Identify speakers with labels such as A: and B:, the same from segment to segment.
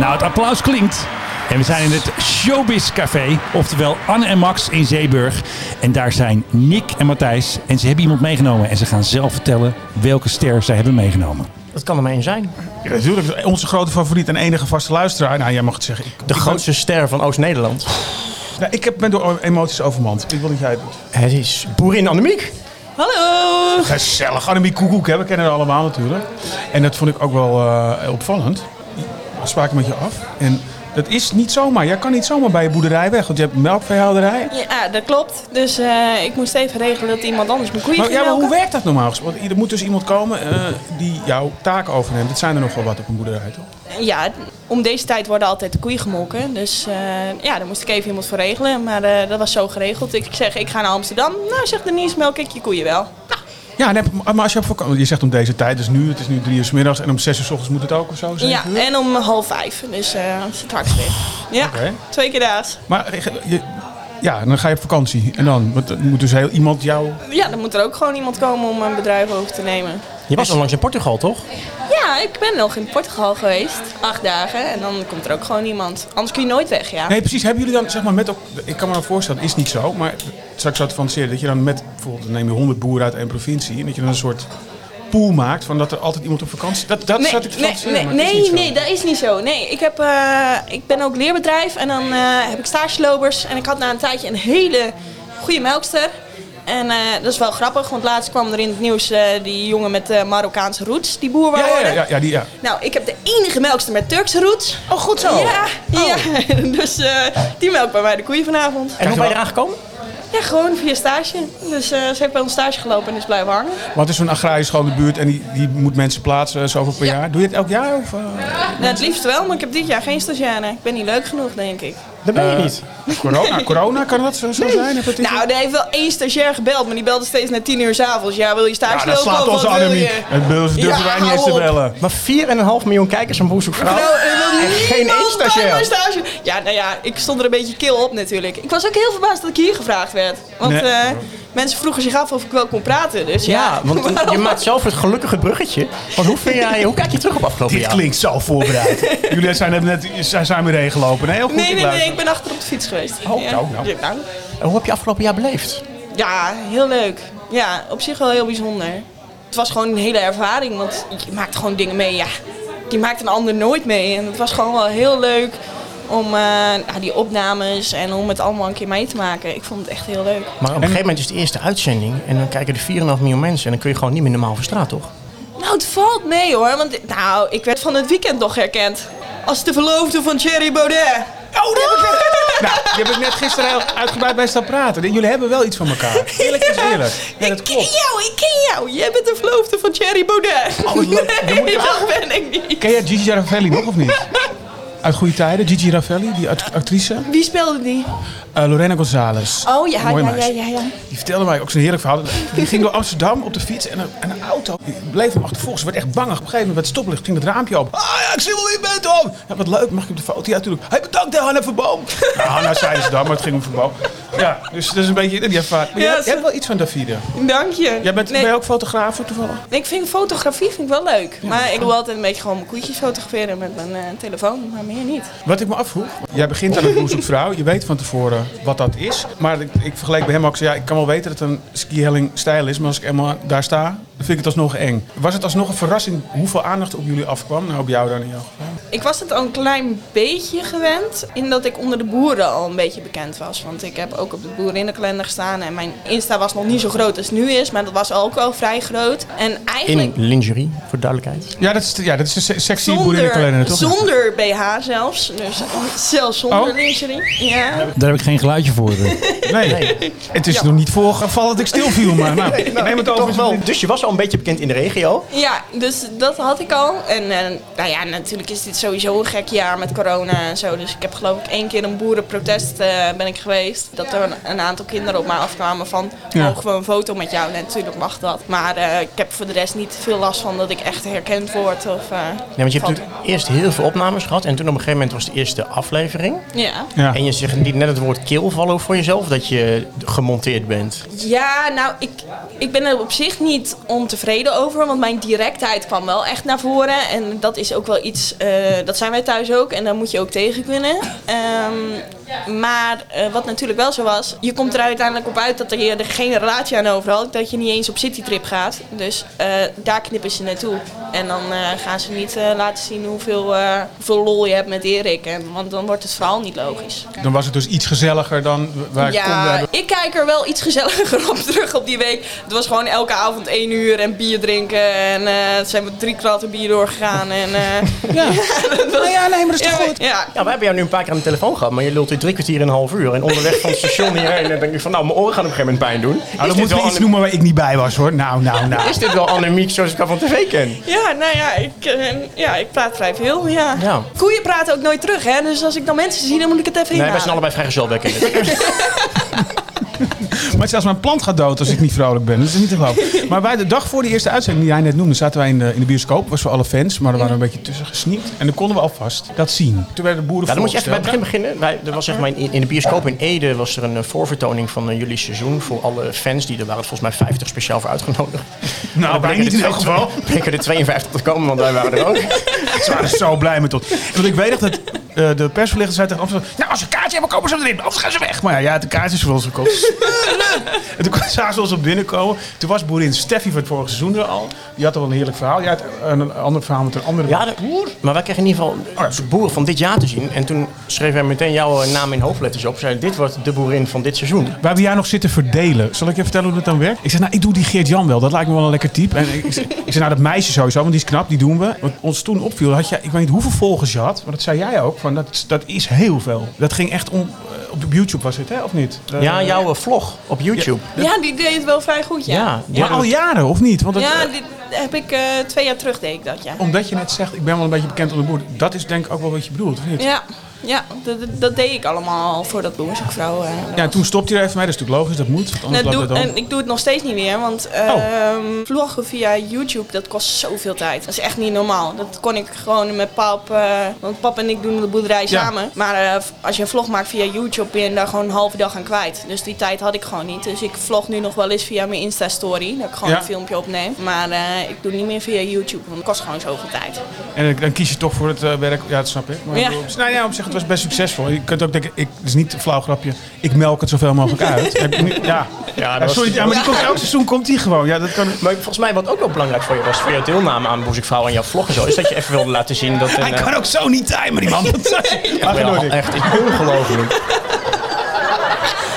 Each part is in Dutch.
A: Nou, het applaus klinkt. En we zijn in het Showbiz Café, oftewel Anne en Max in Zeeburg. En daar zijn Nick en Matthijs. En ze hebben iemand meegenomen. En ze gaan zelf vertellen welke ster zij hebben meegenomen.
B: Dat kan er maar één zijn.
C: Ja, natuurlijk. Onze grote favoriet en enige vaste luisteraar. Nou, jij mag het zeggen. Ik,
B: De grootste ster van Oost-Nederland.
C: nou, ik heb, ben door emoties overmand. Ik wil dat jij het doet.
B: Het is Boerin Annemiek. Hallo!
C: Gezellig. Annemie Koekoek, hè. we kennen haar allemaal natuurlijk. En dat vond ik ook wel eh, opvallend. Ik sprak met je af. En dat is niet zomaar. Jij kan niet zomaar bij je boerderij weg. Want je hebt een melkveehouderij.
D: Ja, dat klopt. Dus eh, ik moest even regelen dat iemand anders mijn koeien
C: Maar,
D: ging
C: ja, maar hoe
D: melken.
C: werkt dat normaal gesproken? Want Er moet dus iemand komen eh, die jouw taak overneemt. Dat zijn er nogal wat op een boerderij, toch?
D: Ja, om deze tijd worden altijd de koeien gemolken. Dus eh, ja, daar moest ik even iemand voor regelen. Maar eh, dat was zo geregeld. Ik zeg, ik ga naar Amsterdam. Nou, zegt Denise, melk ik je koeien wel.
C: Ja, nee, maar als je op vakantie... Je zegt om deze tijd, dus nu. Het is nu drie uur s middags. En om zes uur s ochtends moet het ook of zo, zeven
D: Ja,
C: uur?
D: en om half vijf. Dus eh zit straks weer. Ja,
C: Oké.
D: twee keer daags.
C: Maar eh, je, ja, dan ga je op vakantie. En dan Want dan moet dus heel iemand jou...
D: Ja, dan moet er ook gewoon iemand komen om een bedrijf over te nemen.
B: Je was onlangs in Portugal, toch?
D: Ja, ik ben nog in Portugal geweest. Acht dagen. En dan komt er ook gewoon iemand. Anders kun je nooit weg, ja.
C: Nee, precies. Hebben jullie dan, zeg maar, met... elk- Ik kan me dan voorstellen, het is niet zo. Maar straks zou het fantaseren dat je dan met... Bijvoorbeeld, dan neem je honderd boeren uit één provincie. En dat je dan een soort pool maakt van dat er altijd iemand op vakantie... Dat, dat zat ik te
D: nee,
C: fantaseren,
D: nee,
C: maar het is
D: nee,
C: niet zo.
D: nee, dat is niet zo. Nee, ik, heb, eh, ik ben ook leerbedrijf en dan eh, heb ik stagelopers. En ik had na een tijdje een hele goede melkster. En eh, dat is wel grappig, want laatst kwam er in het nieuws eh, die jongen met eh, Marokkaanse roots, die boer wou
C: Ja, ja,
D: worden.
C: ja, ja, die, ja.
D: Nou, ik heb de enige melkster met Turkse roots.
B: Oh, goed zo.
D: Ja,
C: Oh.
D: ja. dus eh, die melkt bij mij de koeien vanavond.
B: En hoe ben je eraan gekomen?
D: Ja, gewoon via stage. Dus eh, ze heeft bij ons stage gelopen en is blijven hangen.
C: Want het is zo'n agrarisch gewoon de buurt en die, die moet mensen plaatsen eh, zoveel per jaar. Doe je het elk jaar? Of, eh?
D: Nou, het liefst wel, maar ik heb dit jaar geen stagiaire. Ik ben niet leuk genoeg, denk ik.
B: Dat ben je niet.
C: corona, corona, kan dat zo, zo zijn? Of dat is-
D: Nou, er heeft wel één stagiair gebeld, maar die belde steeds na tien uur s'avonds. Ja, wil je
C: ja, dat
D: stage lopen
C: slaat
D: of
C: onze
D: wat wil
C: anemie.
D: je?
C: Dat durven
D: Ja,
C: wij niet eens
D: hou
C: te
D: op.
C: bellen.
B: Maar 4,5 miljoen kijkers aan Boerzoek Vrouw.
D: Nou, er wil
B: en
D: niemand
B: geen één
D: bij
B: stagiair.
D: mijn stage. Ja, nou ja, ik stond er een beetje kil op natuurlijk. Ik was ook heel verbaasd dat ik hier gevraagd werd. Want
C: Nee.
D: eh, mensen vroegen zich af of ik wel kon praten. Dus ja,
B: Ja, want
D: waarom-
B: je maakt zelf het gelukkige bruggetje. Want hoe, vind jij, hoe kijk je terug op afgelopen
C: Dit
B: jaar?
C: klinkt zo voorbereid. Jullie zijn net zijn, zijn weer heen gelopen. Nee, heel goed.
D: Nee,
C: ik
D: nee, nee,
C: luister.
D: ik ben achter op de fiets geweest.
C: Oh,
D: ja.
C: nou, nou.
D: Ja, nou.
B: En Hoe heb je afgelopen jaar beleefd?
D: Ja, heel leuk. Ja, op zich wel heel bijzonder. Het was gewoon een hele ervaring, want je maakt gewoon dingen mee. Ja, die maakt een ander nooit mee. En het was gewoon wel heel leuk om eh, nou, die opnames en om het allemaal een keer mee te maken. Ik vond het echt heel leuk.
B: Maar op een gegeven moment is de eerste uitzending en dan kijken er 4,5 miljoen mensen en dan kun je gewoon niet meer normaal over straat, toch?
D: Nou, het valt mee hoor, want nou, ik werd van het weekend nog herkend. Als de verloofde van Thierry Baudet.
C: Oh, die heb ik net... Nou, die heb ik net gisteren heel uitgebreid bij staan praten. Jullie hebben wel iets van elkaar.
D: Nou,
C: Eerlijk is eerlijk. Ja, dat
D: ik ken
C: klopt.
D: jou, ik ken jou. Jij bent de verloofde van Thierry Baudet.
C: Oh, wat leuk. Dan moet
D: nee,
C: je-
D: dat ben ik niet.
C: Ken jij Gigi Raffelli nog of niet? Uit goede tijden, Gigi Raffelli, die act- actrice.
D: Wie speelde die?
C: Eh, Lorena González.
D: Oh ja,
C: Mooi
D: ja,
C: meisje.
D: ja, ja, ja.
C: Die vertelde mij ook zo'n heerlijk verhaal. Die ging door Amsterdam op de fiets en een, en een auto die bleef hem achtervolgen. Ze werd echt bang. Op een gegeven moment werd het stoplicht, ging het raampje open. Ah ja, ik zie wel wie je bent, Tom. Ja, wat leuk, mag ik op de foto? Ja, natuurlijk. Hij bedankt, hè, Hanna Verboom. Nou, Hanna zeiden ze dan, maar het ging om Verboom. Ja, dus dat is een beetje die ervaring. Maar
D: Ja,
C: jij, jij
D: ze-
C: hebt wel iets van Davide.
D: Dank je.
C: Jij bent,
D: nee,
C: ben je ook fotograaf voor toevallig?
D: nee, ik vind fotografie vind ik wel leuk. maar ik wil altijd een beetje gewoon mijn koetjes fotograferen met mijn eh, telefoon, maar meer niet.
C: Wat ik me afvroeg. Jij begint aan een boer zoekt vrouw. Je weet van tevoren wat dat is. Maar ik, ik vergelijk bij hem ook. zo, Ja, ik kan wel weten dat het een skihelling stijl is. Maar als ik eenmaal daar sta, dan vind ik het alsnog eng. Was het alsnog een verrassing hoeveel aandacht op jullie afkwam? Nou, op jou dan in jouw geval.
D: Ik was het al een klein beetje gewend, in dat ik onder de boeren al een beetje bekend was. Want ik heb ook op de boerinnenkalender gestaan en mijn Insta was nog niet zo groot als het nu is, maar dat was ook al vrij groot. En
B: In
D: eigenlijk
B: lingerie, voor duidelijkheid.
C: Ja, dat is, de- ja, dat is de se- sexy boerinnenkalender,
D: zonder,
C: toch?
D: zonder BH zelfs, dus zelfs zonder
C: Oh.
D: lingerie. Ja.
A: Daar heb ik geen geluidje voor. dus.
C: Nee. Het is nog niet voorgevallen dat ik stilviel. Maar nou, neem het over.
B: Dus je was al een beetje bekend in de regio.
D: Ja, dus dat had ik al. En eh, nou ja, natuurlijk is dit sowieso een gek jaar met corona en zo. Dus ik heb geloof ik één keer een boerenprotest eh, ben ik geweest. Dat er een, een aantal kinderen op mij afkwamen van,
C: Ja.
D: mogen we een foto met jou? Nee, natuurlijk mag dat. Maar eh, ik heb voor de rest niet veel last van dat ik echt herkend word. Of, eh,
B: Nee, want je hebt
D: van-
B: natuurlijk eerst heel veel opnames gehad en toen op een gegeven moment was de eerste aflevering.
D: Ja.
C: Ja.
B: En je zegt niet net het woord keelvallen voor jezelf dat je gemonteerd bent.
D: Ja, nou, ik, ik ben er op zich niet ontevreden over. Want mijn directheid kwam wel echt naar voren. En dat is ook wel iets eh, eh, dat zijn wij thuis ook en daar moet je ook tegen kunnen. Ehm, maar eh, wat natuurlijk wel zo was, je komt er uiteindelijk op uit dat je er geen relatie aan overhoudt. Dat je niet eens op citytrip gaat. Dus eh, daar knippen ze naartoe. En dan eh, gaan ze niet eh, laten zien hoeveel, eh, hoeveel lol je hebt met Erik. En, want dan wordt het verhaal niet logisch.
C: Dan was het dus iets gezelliger dan w- waar ik kon
D: Ja,
C: hebben.
D: ik kijk er wel iets gezelliger op terug op die week. Het was gewoon elke avond één uur en bier drinken. En eh het zijn met drie kratten bier doorgegaan. En, eh, ja. dat was-
B: Nou ja, nee, maar dat is toch
D: Ja,
B: goed?
D: Ja,
B: Ja, we hebben jou nu een paar keer aan de telefoon gehad, maar je lult weer drie kwartier en een half uur. En onderweg van het station hierheen en denk ik van, nou, mijn oren gaan op een gegeven moment pijn doen.
C: Nou,
B: Is
C: dan
B: dit
C: moeten we
B: wel
C: iets
B: anem-
C: noemen waar ik niet bij was hoor. Nou, nou, nou.
B: Is dit wel anemiek zoals ik haar van tv ken?
D: ja, nou ja ik, eh, ja, ik praat vrij veel. Ja.
B: Ja.
D: Koeien praten ook nooit terug, hè? Dus als ik dan mensen zie, dan moet ik het even
B: Nee, wij
D: inhalen.
B: zijn allebei vrijgezel bij kinderen.
C: Maar zelfs mijn plant gaat dood als ik niet vrolijk ben. Dat is niet te geloven. Maar bij de dag voor de eerste uitzending die jij net noemde, zaten wij in de, in de bioscoop. Was voor alle fans, maar er waren een beetje tussen gesneakt. En dan konden we alvast dat zien. Toen werden de boeren
B: Ja, dan moet je even bij het
C: voorgesteld.
B: begin beginnen. Wij, er was zeg maar in, in de bioscoop in Ede was er een eh, voorvertoning van eh, jullie seizoen voor alle fans die er waren. Volgens mij 50 speciaal voor uitgenodigd.
C: Nou, wij niet in elk geval.
B: Ik er 52 te komen, want wij waren er ook.
C: Ze waren zo blij met ons. Want ik weet nog dat eh, de persverlichter zei tegen Amsterdam... Nou, als ze een kaartje hebben, komen ze erin. Anders gaan ze weg. Maar ja, ja de kaartjes voor ons gekocht. Smullen! en toen zagen ze ons op binnenkomen. Toen was boerin Steffi van het vorige seizoen er al. Die had al een heerlijk verhaal. Jij had een, een ander verhaal met een andere...
B: Ja, de boer. Oh Maar wij kregen in ieder geval de boer van dit jaar te zien. En toen schreef hij meteen jouw eh, naam in hoofdletters op. Zei, dit wordt de boerin van dit seizoen.
C: Waar we jij nog zitten verdelen. Zal ik je vertellen hoe dat dan werkt? Ik zeg, nou, ik doe die Geert-Jan wel. Dat lijkt me wel een lekker type. En ik, ik zeg, ik zeg, nou, dat meisje sowieso, want die is knap, die doen we. Wat ons toen opviel, had je, ik weet niet hoeveel volgers je had. Maar dat zei jij ook, van dat, dat is heel veel. Dat ging echt om... eh, Op YouTube was het, hè? Of niet? Eh,
B: Ja, jouw eh, vlog op YouTube.
D: Ja, die deed het wel vrij goed, ja.
B: Ja,
C: Maar al jaren, of niet? Want dat,
D: Ja, dit heb ik eh, twee jaar terug deed ik dat, ja.
C: omdat je net zegt, ik ben wel een beetje bekend onder de boer. Dat is denk ik ook wel wat je bedoelt, of niet?
D: Ja, ja dat, dat- dat deed ik allemaal voordat Boemersvrouw... eh
C: Ja, toen stopte hij er even mee. Dat is natuurlijk logisch, dat moet. want Anders
D: Nou,
C: loopt
D: doe-
C: het dan. Oh.
D: en ik doe het nog steeds niet meer, want ehm, vloggen via YouTube, dat kost zoveel tijd. Dat is echt niet normaal. Dat kon ik gewoon met pap, eh, want pap en ik doen de boerderij
C: Ja.
D: samen. Maar eh, als je een vlog maakt via YouTube, ben je daar gewoon een halve dag aan kwijt. Dus die tijd had ik gewoon niet. Dus ik vlog nu nog wel eens via mijn Insta-story, dat ik gewoon
C: Ja.
D: een filmpje opneem. Maar eh, ik doe niet meer via YouTube, want het kost gewoon zoveel tijd.
C: En ik- dan kies je toch voor het eh, werk. Ja, dat snap ik. Maar
D: Ja.
C: ik bedoel, nou ja, op zich, het was best succesvol. Je kunt ook denken, ik, het is niet een flauw grapje. Ik melk het zoveel mogelijk uit. Heb je niet- ja.
B: Ja,
C: Ja,
B: dat was-
C: sorry, ja, maar die komt, elk seizoen komt die gewoon. Ja, dat kan...
B: Maar volgens mij wat ook wel belangrijk voor je was, voor jouw deelname aan Boezekvrouw en jouw vlog en zo, is dat je even wilde laten zien dat... Een,
C: Hij kan ook zo niet timen, die man. Dat
B: eh,
C: mag je
B: ja,
C: nooit in.
B: echt is ongelooflijk.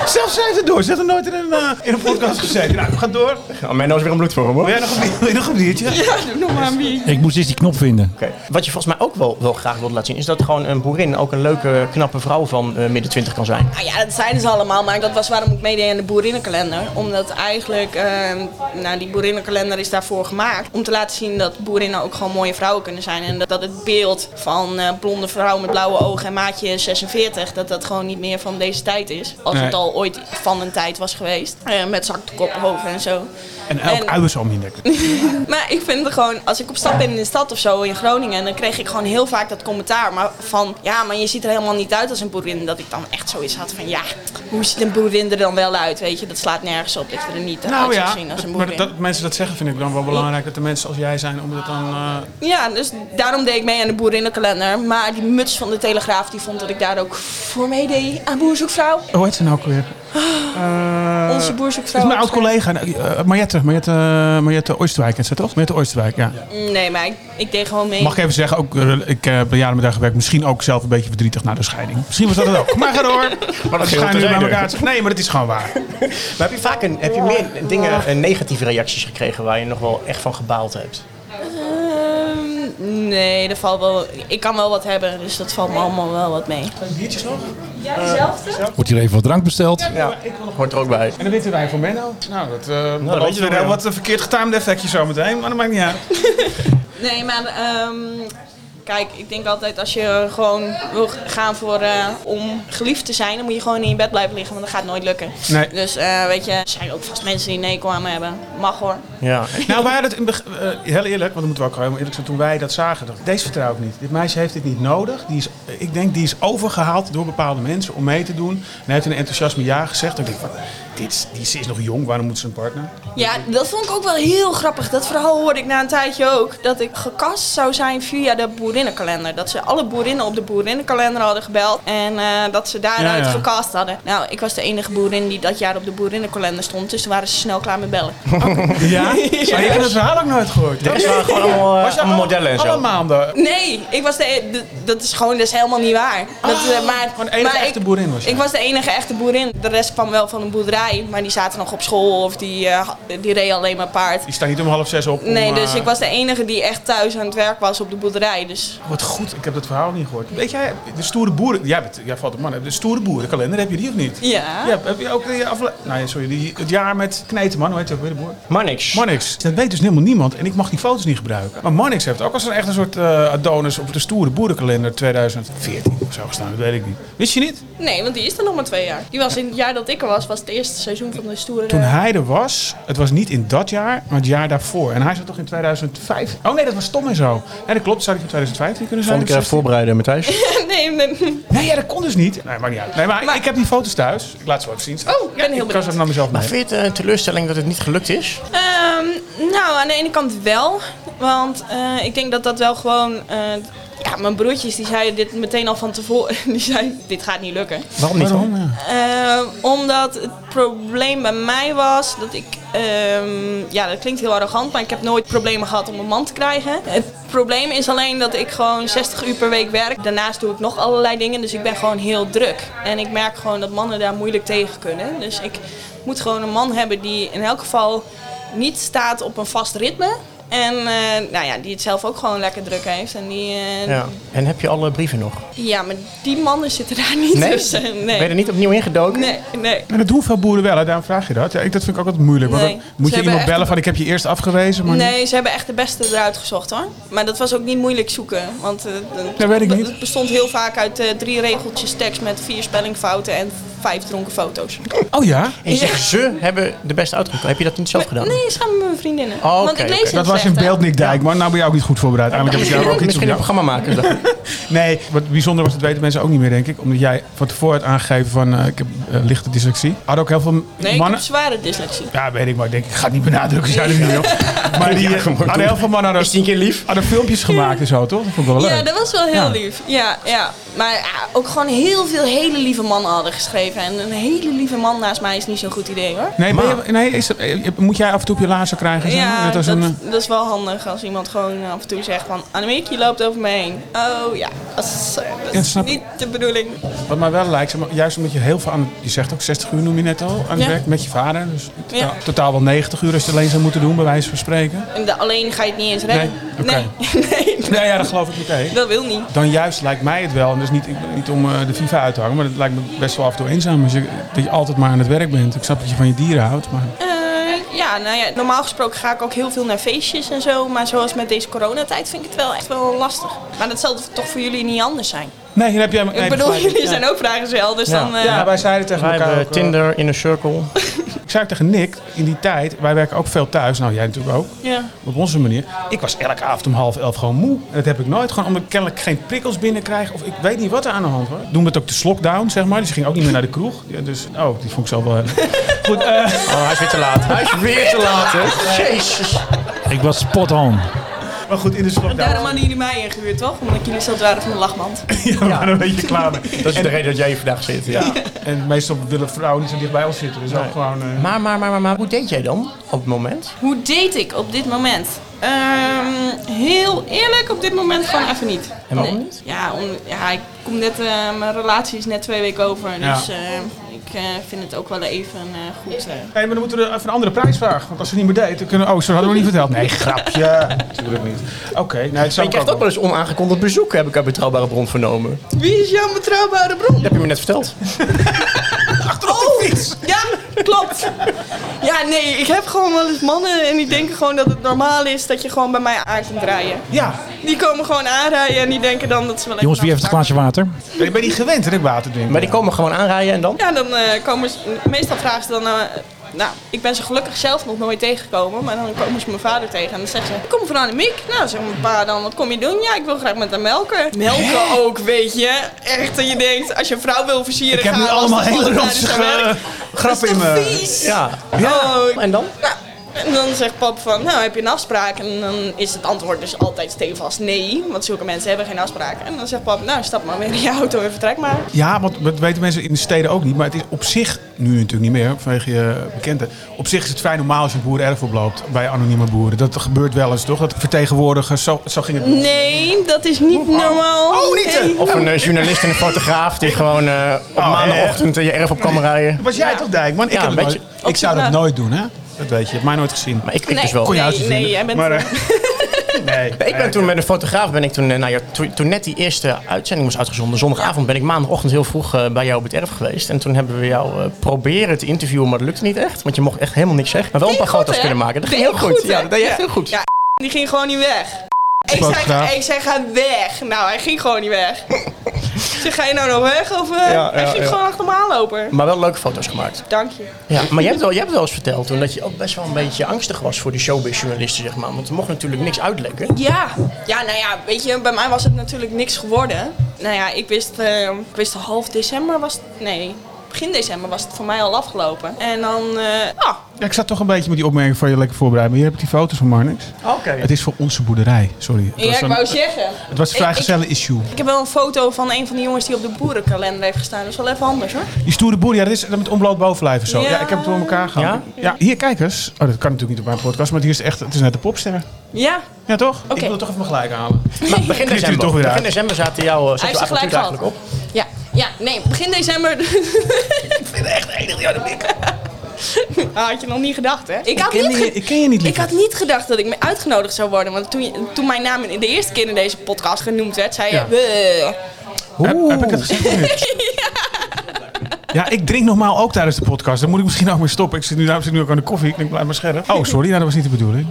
C: Zelfs zij is het door. Ze heeft er nooit in een, eh, in een podcast gezeten. Nou, we gaan door.
B: Nou, Menno is weer een bloedvorm hoor.
C: Wil jij nog een, bier- wil je nog een biertje?
A: Ik moest eens die knop vinden.
B: Oké. Wat je volgens mij ook wel, wel graag wilde laten zien, is dat gewoon een boerin ook een leuke, knappe vrouw van eh, midden twintig kan zijn.
D: Nou ja, dat zeiden ze allemaal, maar dat was waarom ik meedeed aan de boerinnenkalender. Omdat eigenlijk, eh, nou die boerinnenkalender is daarvoor gemaakt. Om te laten zien dat boerinnen ook gewoon mooie vrouwen kunnen zijn. En dat, dat het beeld van eh, blonde vrouw met blauwe ogen en maatje 46, dat dat gewoon niet meer van deze tijd is. Als
C: Nee.
D: het al ooit van een tijd was geweest. Eh, met zakte koppenhoven en zo.
C: En elk
D: En-
C: uien zo om je nek.
D: Maar ik vind het gewoon, als ik op stap ben in de stad of zo in Groningen, dan kreeg ik gewoon heel vaak dat commentaar. Maar van, ja, maar je ziet er helemaal niet uit als een boerin. Dat ik dan echt zoiets had van, ja, hoe ziet een boerin er dan wel uit? Weet je, dat slaat nergens op. Dat je er niet eh, uit
C: Nou
D: zou
C: ja,
D: zien als een
C: maar
D: boerin.
C: dat mensen dat zeggen vind ik dan wel belangrijk. Dat de mensen als jij zijn, om dat dan... eh,
D: Ja, dus daarom deed ik mee aan de boerinnenkalender. Maar die muts van de Telegraaf, die vond dat ik daar ook voor meedeed aan Boerzoekvrouw.
C: Hoe heet ze nou ook weer? Eh,
D: Onze
C: Dat
D: boerzoekvrouw.
C: is mijn oud-collega, eh, Mariette, Mariette, Mariette Oosterwijk, is dat toch? Mariette Oosterwijk, ja.
D: Nee, maar ik, ik deed gewoon mee.
C: Mag ik even zeggen, ook, eh, ik heb jaren met haar gewerkt, misschien ook zelf een beetje verdrietig na de scheiding. Misschien was dat dus het ook. Maar ga door. Maar
B: scheelt terzijde.
C: bij elkaar. te- Nee, maar het is gewoon waar.
B: Maar heb je vaak een, heb je meer dingen, eh, negatieve reacties gekregen waar je nog wel echt van gebaald hebt?
D: Ehm, nee, dat valt wel. Ik kan wel wat hebben, dus dat valt me allemaal wel wat mee.
C: Biertjes nog?
A: Wordt hier even wat drank besteld?
B: Ja, hoort er ook bij.
C: En een witte wijn voor Menno? Nou, dat, eh dat
B: weet je
C: weer
B: wel, ja.
C: wat een verkeerd getimed effectje zometeen, maar dat maakt niet uit.
D: Nee, maar ehm, kijk, ik denk altijd als je gewoon wil gaan voor eh, om geliefd te zijn, dan moet je gewoon in je bed blijven liggen, want dat gaat nooit lukken.
C: Nee.
D: Dus eh, weet je, er zijn ook vast mensen die een hekel aan me hebben. Mag hoor.
B: Ja.
C: Nou, wij hadden het in het begin- eh, heel eerlijk, want dan moeten we ook helemaal eerlijk zijn. Toen wij dat zagen, dacht ik, deze vertrouw ik niet. Dit meisje heeft dit niet nodig. Die is, eh, ik denk, die is overgehaald door bepaalde mensen om mee te doen. En hij heeft een enthousiasme ja gezegd. Ik denk, wat, dit, is- die, ze is nog jong, waarom moet ze een partner?
D: Ja, dat vond ik ook wel heel grappig. Dat verhaal hoorde ik na een tijdje ook. Dat ik gekast zou zijn via de boerinnenkalender. Dat ze alle boerinnen op de boerinnenkalender hadden gebeld. En eh, dat ze daaruit
C: Ja, ja.
D: gecast hadden. Nou, ik was de enige boerin die dat jaar op de boerinnenkalender stond. Dus toen waren ze snel klaar met bellen.
C: Ja? Maar ik heb dat verhaal ook nooit gehoord.
B: Dat waren gewoon allemaal, eh,
C: Was je
B: allemaal
C: alle-
B: modellen en zo.
C: Alle maanden.
D: Nee, ik was de, d- dat is gewoon dat is helemaal niet waar. Dat, eh, maar,
C: Oh. gewoon de enige
D: maar
C: echte
D: ik,
C: boerin was jij.
D: Ik was de enige echte boerin. De rest kwam wel van een boerderij. Maar die zaten nog op school of die, eh, ha- die reden alleen maar paard.
C: Die staat niet om half zes op. om,
D: Nee, dus
C: eh,
D: ik was de enige die echt thuis aan het werk was op de boerderij. Dus
C: Wat goed, ik heb dat verhaal niet gehoord. Weet jij, de stoere boeren... Jij, bent, jij valt op mannen. De stoere boerenkalender, heb je die of niet?
D: ja.
C: Ja, heb je ook die afle- Nou ja, sorry, die, het jaar met Kneteman, hoe heet dat weer de boer?
B: Maar niks.
C: Mannix. Dat weet dus helemaal niemand en ik mag die foto's niet gebruiken. Maar Mannix heeft ook als een echt een soort eh, Adonis op de stoere boerenkalender 2014 of zo gestaan, dat weet ik niet. Wist je niet?
D: Nee, want die is er nog maar twee jaar. Die was in het jaar dat ik er was, was het eerste seizoen van de stoere.
C: Toen hij er was, het was niet in dat jaar, maar het jaar daarvoor. En hij zat toch in 2005? Oh nee, dat was Tom en zo. Nee, dat klopt, zou die van 2015 kunnen zijn?
B: Vond ik even
C: of
B: voorbereiden,
C: 16?
B: Matthijs.
D: nee, nee.
C: Nee, ja, dat kon dus niet. Nee, maakt niet uit. Nee, maar, ik heb die foto's thuis. Ik laat ze wel even zien.
D: Oh, ik ben heel
C: ik kan
D: benieuwd.
C: ze even naar mezelf
B: Maar
C: nemen.
B: vind je het een teleurstelling dat het niet gelukt is?
D: Ehm, nou, aan de ene kant wel. Want eh, ik denk dat dat wel gewoon. eh, ja, mijn broertjes die zeiden dit meteen al van tevoren. Die zeiden: Dit gaat niet lukken.
B: Waarom niet? dan?
D: Eh, omdat het probleem bij mij was dat ik. ehm, ja, dat klinkt heel arrogant, maar ik heb nooit problemen gehad om een man te krijgen. Het probleem is alleen dat ik gewoon 60 uur per week werk. Daarnaast doe ik nog allerlei dingen, dus ik ben gewoon heel druk. En ik merk gewoon dat mannen daar moeilijk tegen kunnen. Dus ik moet gewoon een man hebben die in elk geval niet staat op een vast ritme. En eh, nou ja, die het zelf ook gewoon lekker druk heeft. En die, eh, ja.
B: Ja. En heb je alle brieven nog?
D: maar die mannen zitten daar niet tussen.
B: Ben je er
D: Nee,
B: niet opnieuw ingedoken?
D: nee, nee.
C: En dat doen veel boeren wel, hè? daarom vraag je dat. Ja, ik, dat vind ik ook wat moeilijk. want
D: Nee.
C: dan
D: Ze
C: moet je
D: hebben
C: iemand
D: echt-
C: bellen van ik heb je eerst afgewezen? Maar
D: Nee, ze hebben echt de beste eruit gezocht hoor. Maar dat was ook niet moeilijk zoeken. Want eh, het,
C: Dat weet ik
D: be-
C: niet.
D: het bestond heel vaak uit eh, drie regeltjes tekst met vier spellingfouten en vijf dronken foto's.
C: Oh ja?
B: En je zegt, ze hebben de beste uitgekomen. Heb je dat niet zelf gedaan?
D: Nee, samen met mijn vriendinnen.
B: Oh,
D: Want
B: oké,
D: ik lees
B: oké.
D: in
C: Dat was in beeld, Nick Dijkman. Nou ben jij ook niet goed voorbereid. Eigenlijk heb ik jou ook iets op
B: Misschien een
C: jou.
B: programma maken. zeg.
C: Nee, wat bijzonder was, dat weten mensen ook niet meer, denk ik. Omdat jij van tevoren had aangegeven van eh, ik heb eh, lichte dyslexie. Hadden ook heel veel
D: Nee, ik
C: mannen...
D: heb zware dyslexie.
C: Ja, weet ik, maar ik denk, ik ga het niet benadrukken. Zijn er niet, joh. Maar die eh, hadden heel veel mannen
B: Is
C: hadden,
B: tien keer lief?
C: hadden filmpjes gemaakt en zo, toch? Dat vond ik wel leuk.
D: Ja, dat was wel heel
C: Ja.
D: lief. Ja, ja. Maar ja, ook gewoon heel veel hele lieve mannen hadden geschreven. En een hele lieve man naast mij is niet zo'n goed idee hoor.
C: Nee, ben je- nee is dat- eh, moet jij af en toe op je laarzen krijgen? zeg maar?
D: Ja,
C: Net
D: dat,
C: als een, eh,
D: dat is wel handig als iemand gewoon af en toe zegt van... Annemiek, je loopt over me heen. Oh ja, dat is, eh, dat
C: Ja,
D: is
C: snap ik.
D: niet de bedoeling.
C: eh, Wat mij wel lijkt, zeg maar, juist omdat je heel veel aan... Je zegt ook 60 uur noem je net al, aan het
D: Ja.
C: werk met je vader. Dus in totaal,
D: Ja.
C: totaal wel 90 uur als je het alleen zou moeten doen, bij wijze van spreken.
D: En de- alleen ga je het niet eens redden.
C: Nee, oké.
D: nee, nee,
C: Nee, ja, dat geloof ik meteen.
D: dat wil niet.
C: Dan juist lijkt mij het wel, en dus niet, ik- niet om eh, de FIFA uit te hangen, maar het lijkt me best wel af en toe eenzaam. Als je, dat je altijd maar aan het werk bent. Ik snap dat je van je dieren houdt, maar...
D: Eh, ja, nou ja, normaal gesproken ga ik ook heel veel naar feestjes en zo. Maar zoals met deze coronatijd vind ik het wel echt wel lastig. Maar dat zal toch voor jullie niet anders zijn?
C: Nee, dan heb jij...
D: ik bedoel, jullie zijn ook vrijgezel, dus
B: Ja.
D: dan... eh,
C: Ja, wij zeiden tegen
B: Wij
C: elkaar
B: hebben
C: ook, eh,
B: Tinder, Inner Circle.
C: Ik zei ook tegen Nick, in die tijd, wij werken ook veel thuis. Nou, jij natuurlijk ook.
D: ja.
C: op onze manier. Ik was elke avond om half elf gewoon moe. En dat heb ik nooit. Gewoon omdat ik kennelijk geen prikkels binnenkrijg. Of ik weet niet wat er aan de hand was. Doen we het ook de slokdown, zeg maar. Dus ik ging ook niet meer naar de kroeg. Ja, dus, oh, die vond ik zo wel... Goed, eh,
B: Oh, hij is weer te laat. Hij is weer te laat, hè? Jezus.
A: Ik was spot on.
C: maar goed, in de
D: Daarom
C: slokdown.
D: hadden jullie mij ingehuurd, toch? Omdat jullie zat waren van de lachmand.
C: Ja, we waren een beetje klaar mee.
B: Dat is de reden dat jij hier vandaag zit. Ja.
C: En meestal willen vrouwen niet zo dicht bij ons zitten. Dus ook gewoon... eh,
B: Maar, maar, maar, maar, maar, hoe deed jij dan op het moment?
D: Hoe deed ik op dit moment? Ehm, heel eerlijk, op dit moment gewoon even niet.
B: En waarom niet?
D: Ja, om, ja ik kom net, eh, mijn relatie is net twee weken over.
C: Ja.
D: Dus eh, ik eh, vind het ook wel even eh, goed. eh.
C: Hé, maar dan moeten we even een andere prijs vragen. Want als ze het niet meer deed, dan kunnen... Oh, zo hadden we niet verteld. Nee, grapje. Natuurlijk niet. Oké, nou, het
B: Maar
C: zou
B: je
C: ik
B: krijgt ook wel eens onaangekondigd bezoek, heb ik uit Betrouwbare Bron vernomen. Dat
D: Wie is jouw betrouwbare bron?
B: heb je me net verteld.
D: Oh, ja, klopt. Ja, nee, ik heb gewoon wel eens mannen en die denken gewoon dat het normaal is dat je gewoon bij mij aan komt rijden.
C: Ja,
D: Die komen gewoon aanrijden en die denken dan dat ze wel even
A: Jongens, wie heeft het glaasje water?
C: ik ben niet gewend dat ik water drink.
B: Maar die komen gewoon aanrijden en dan?
D: Ja, dan eh, komen ze, meestal vragen ze dan, eh, Nou, ik ben ze gelukkig zelf nog nooit tegengekomen, maar dan komen ze mijn vader tegen en dan zegt ze, ik kom van Annemiek. Nou, zeg mijn pa dan, wat kom je doen? Ja, ik wil graag met haar melken. Melken ook, weet je. Echt, dat je denkt, als je een vrouw wil versieren,
C: Ik heb
D: ga
C: nu
D: lastig
C: allemaal
D: vallen
C: hele
D: tijdens haar werk.
C: ranzige grappen in
D: Dat is toch
C: me.
D: vies?
C: Ja.
D: Oh,
B: En dan?
D: nou, en dan zegt pap van, nou heb je een afspraak? En dan is het antwoord dus altijd stevast nee, want zulke mensen hebben geen afspraak. En dan zegt pap, nou stap maar weer in je auto en vertrek maar.
C: Ja, want dat weten mensen in de steden ook niet. Maar het is op zich, nu natuurlijk niet meer, vanwege je bekende. Op zich is het vrij normaal als je een boerenerf oploopt bij anonieme boeren. Dat gebeurt wel eens, toch? Dat vertegenwoordigers, zo, zo ging het.
D: Nee, dat is niet normaal.
C: Oh, niet, hè?
D: Nee.
B: Of een eh, journalist en een fotograaf die gewoon eh, op
C: Oh,
B: maandagochtend eh, je erf op kan rijden.
C: Was jij toch, Dijkman? Ik,
B: Ja,
C: heb het
B: weet
C: nooit-
B: je,
C: ik zou dat
D: zo'n-
C: nooit doen, hè? Dat weet je, heb mij nooit gezien.
B: Maar ik, ik
D: Nee.
B: dus wel.
C: Kon je
D: Nee,
C: huisjes
D: nee,
C: vinden.
D: jij bent-
C: Maar, eh, nee.
B: Ik ben toen met een fotograaf ben ik toen, eh, nou ja, toen, toen net die eerste uitzending was uitgezonden, zondagavond ben ik maandagochtend heel vroeg eh, bij jou op het erf geweest. En toen hebben we jou eh, proberen te interviewen, maar dat lukte niet echt. Want je mocht echt helemaal niks zeggen. Maar wel een paar
D: Ging goed,
B: foto's
D: hè?
B: kunnen maken. Dat ging
D: Deed
B: heel goed.
D: hè?
B: ja, dat deed je echt heel goed.
D: Ja, die ging gewoon niet weg. Ik
C: Fotograaf.
D: zei, ik zei, ga weg. Nou, hij ging gewoon niet weg. zeg, ga je nou nog weg? Of, eh,
B: ja,
D: hij ging
B: ja.
D: gewoon achter me aanlopen.
B: Maar wel leuke foto's gemaakt.
D: Dank je.
B: Ja, maar je hebt, wel, je hebt wel eens verteld toen dat je ook best wel een beetje angstig was voor de showbiz-journalisten, zeg maar. Want er mocht natuurlijk niks uitlekken.
D: Ja. ja, nou ja, weet je, bij mij was het natuurlijk niks geworden. Nou ja, ik wist, eh, ik wist half december was het, nee, begin december was het voor mij al afgelopen. En dan, eh, ah,
C: Ja, ik zat toch een beetje met die opmerking van je lekker voorbereid. Maar hier heb ik die foto's van Marnix.
B: Oké.
C: Het is voor onze boerderij, sorry. Het
D: ja,
C: was
D: ik
C: een-
D: wou zeggen.
C: het was een vrijgezellen issue.
D: Ik heb wel een foto van een van de jongens die op de boerenkalender heeft gestaan. Dat is wel even anders hoor.
C: Die stoere boer, ja, dat is met onbloot bovenlijf en zo. Ja.
D: Ja.
C: ik heb het door elkaar gehaald. Ja? hier, kijk eens. Oh, dat kan natuurlijk niet op mijn podcast, maar hier is echt, het is net de popster.
D: Ja,
C: Ja, toch? Ik
D: Oké.
C: wil het toch even maar gelijk halen.
B: Maar begin
C: Knipt u
B: december,
C: toch weer
B: begin
C: uit.
B: december zaten jou, eh, zat
D: Hij
B: jouw
D: heeft
B: avontuur
D: gelijk gehad.
B: eigenlijk op.
D: Ja, ja, nee, begin december.
B: Echt enig, ja, dat ben ik.
D: Ah, had je nog niet gedacht, hè? Ik had,
C: ken
D: niet
C: je-
D: ge-
C: ik ken je niet,
D: ik
C: lieverd.
D: had niet gedacht dat ik me uitgenodigd zou worden. Want toen, je- toen mijn naam in de eerste keer in deze podcast genoemd werd, zei je...
C: Ja.
D: "Bleh."
C: Heb, heb ik het gezegd of niet? Ja, ik drink normaal ook tijdens de podcast. Dan moet ik misschien ook weer stoppen. Ik zit nu, daarom zit ik nu ook aan de koffie. Ik denk, blijf maar scherp. Oh, sorry. Nou, dat was niet de bedoeling.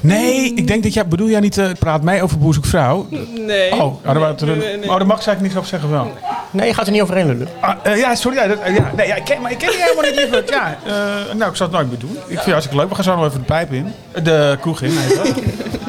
C: Nee, ik denk dat jij... Bedoel jij niet... eh, praat mij over boer zoekt vrouw?
D: Nee.
C: Oh, nou, daar wou-
D: Nee, nee, nee.
C: oh, daar mag ze eigenlijk niks over zeggen wel.
B: Nee, je gaat er niet overheen lullen.
C: Ah, eh, ja, sorry. Ja, dat, eh, ja, nee, ja, ik ken, maar ik ken je helemaal niet, lieverd. Ja, eh, nou, ik zal het nooit meer doen. Ik vind het hartstikke leuk. We gaan zo nog even de pijp in. Eh, De kroeg in. heet dat.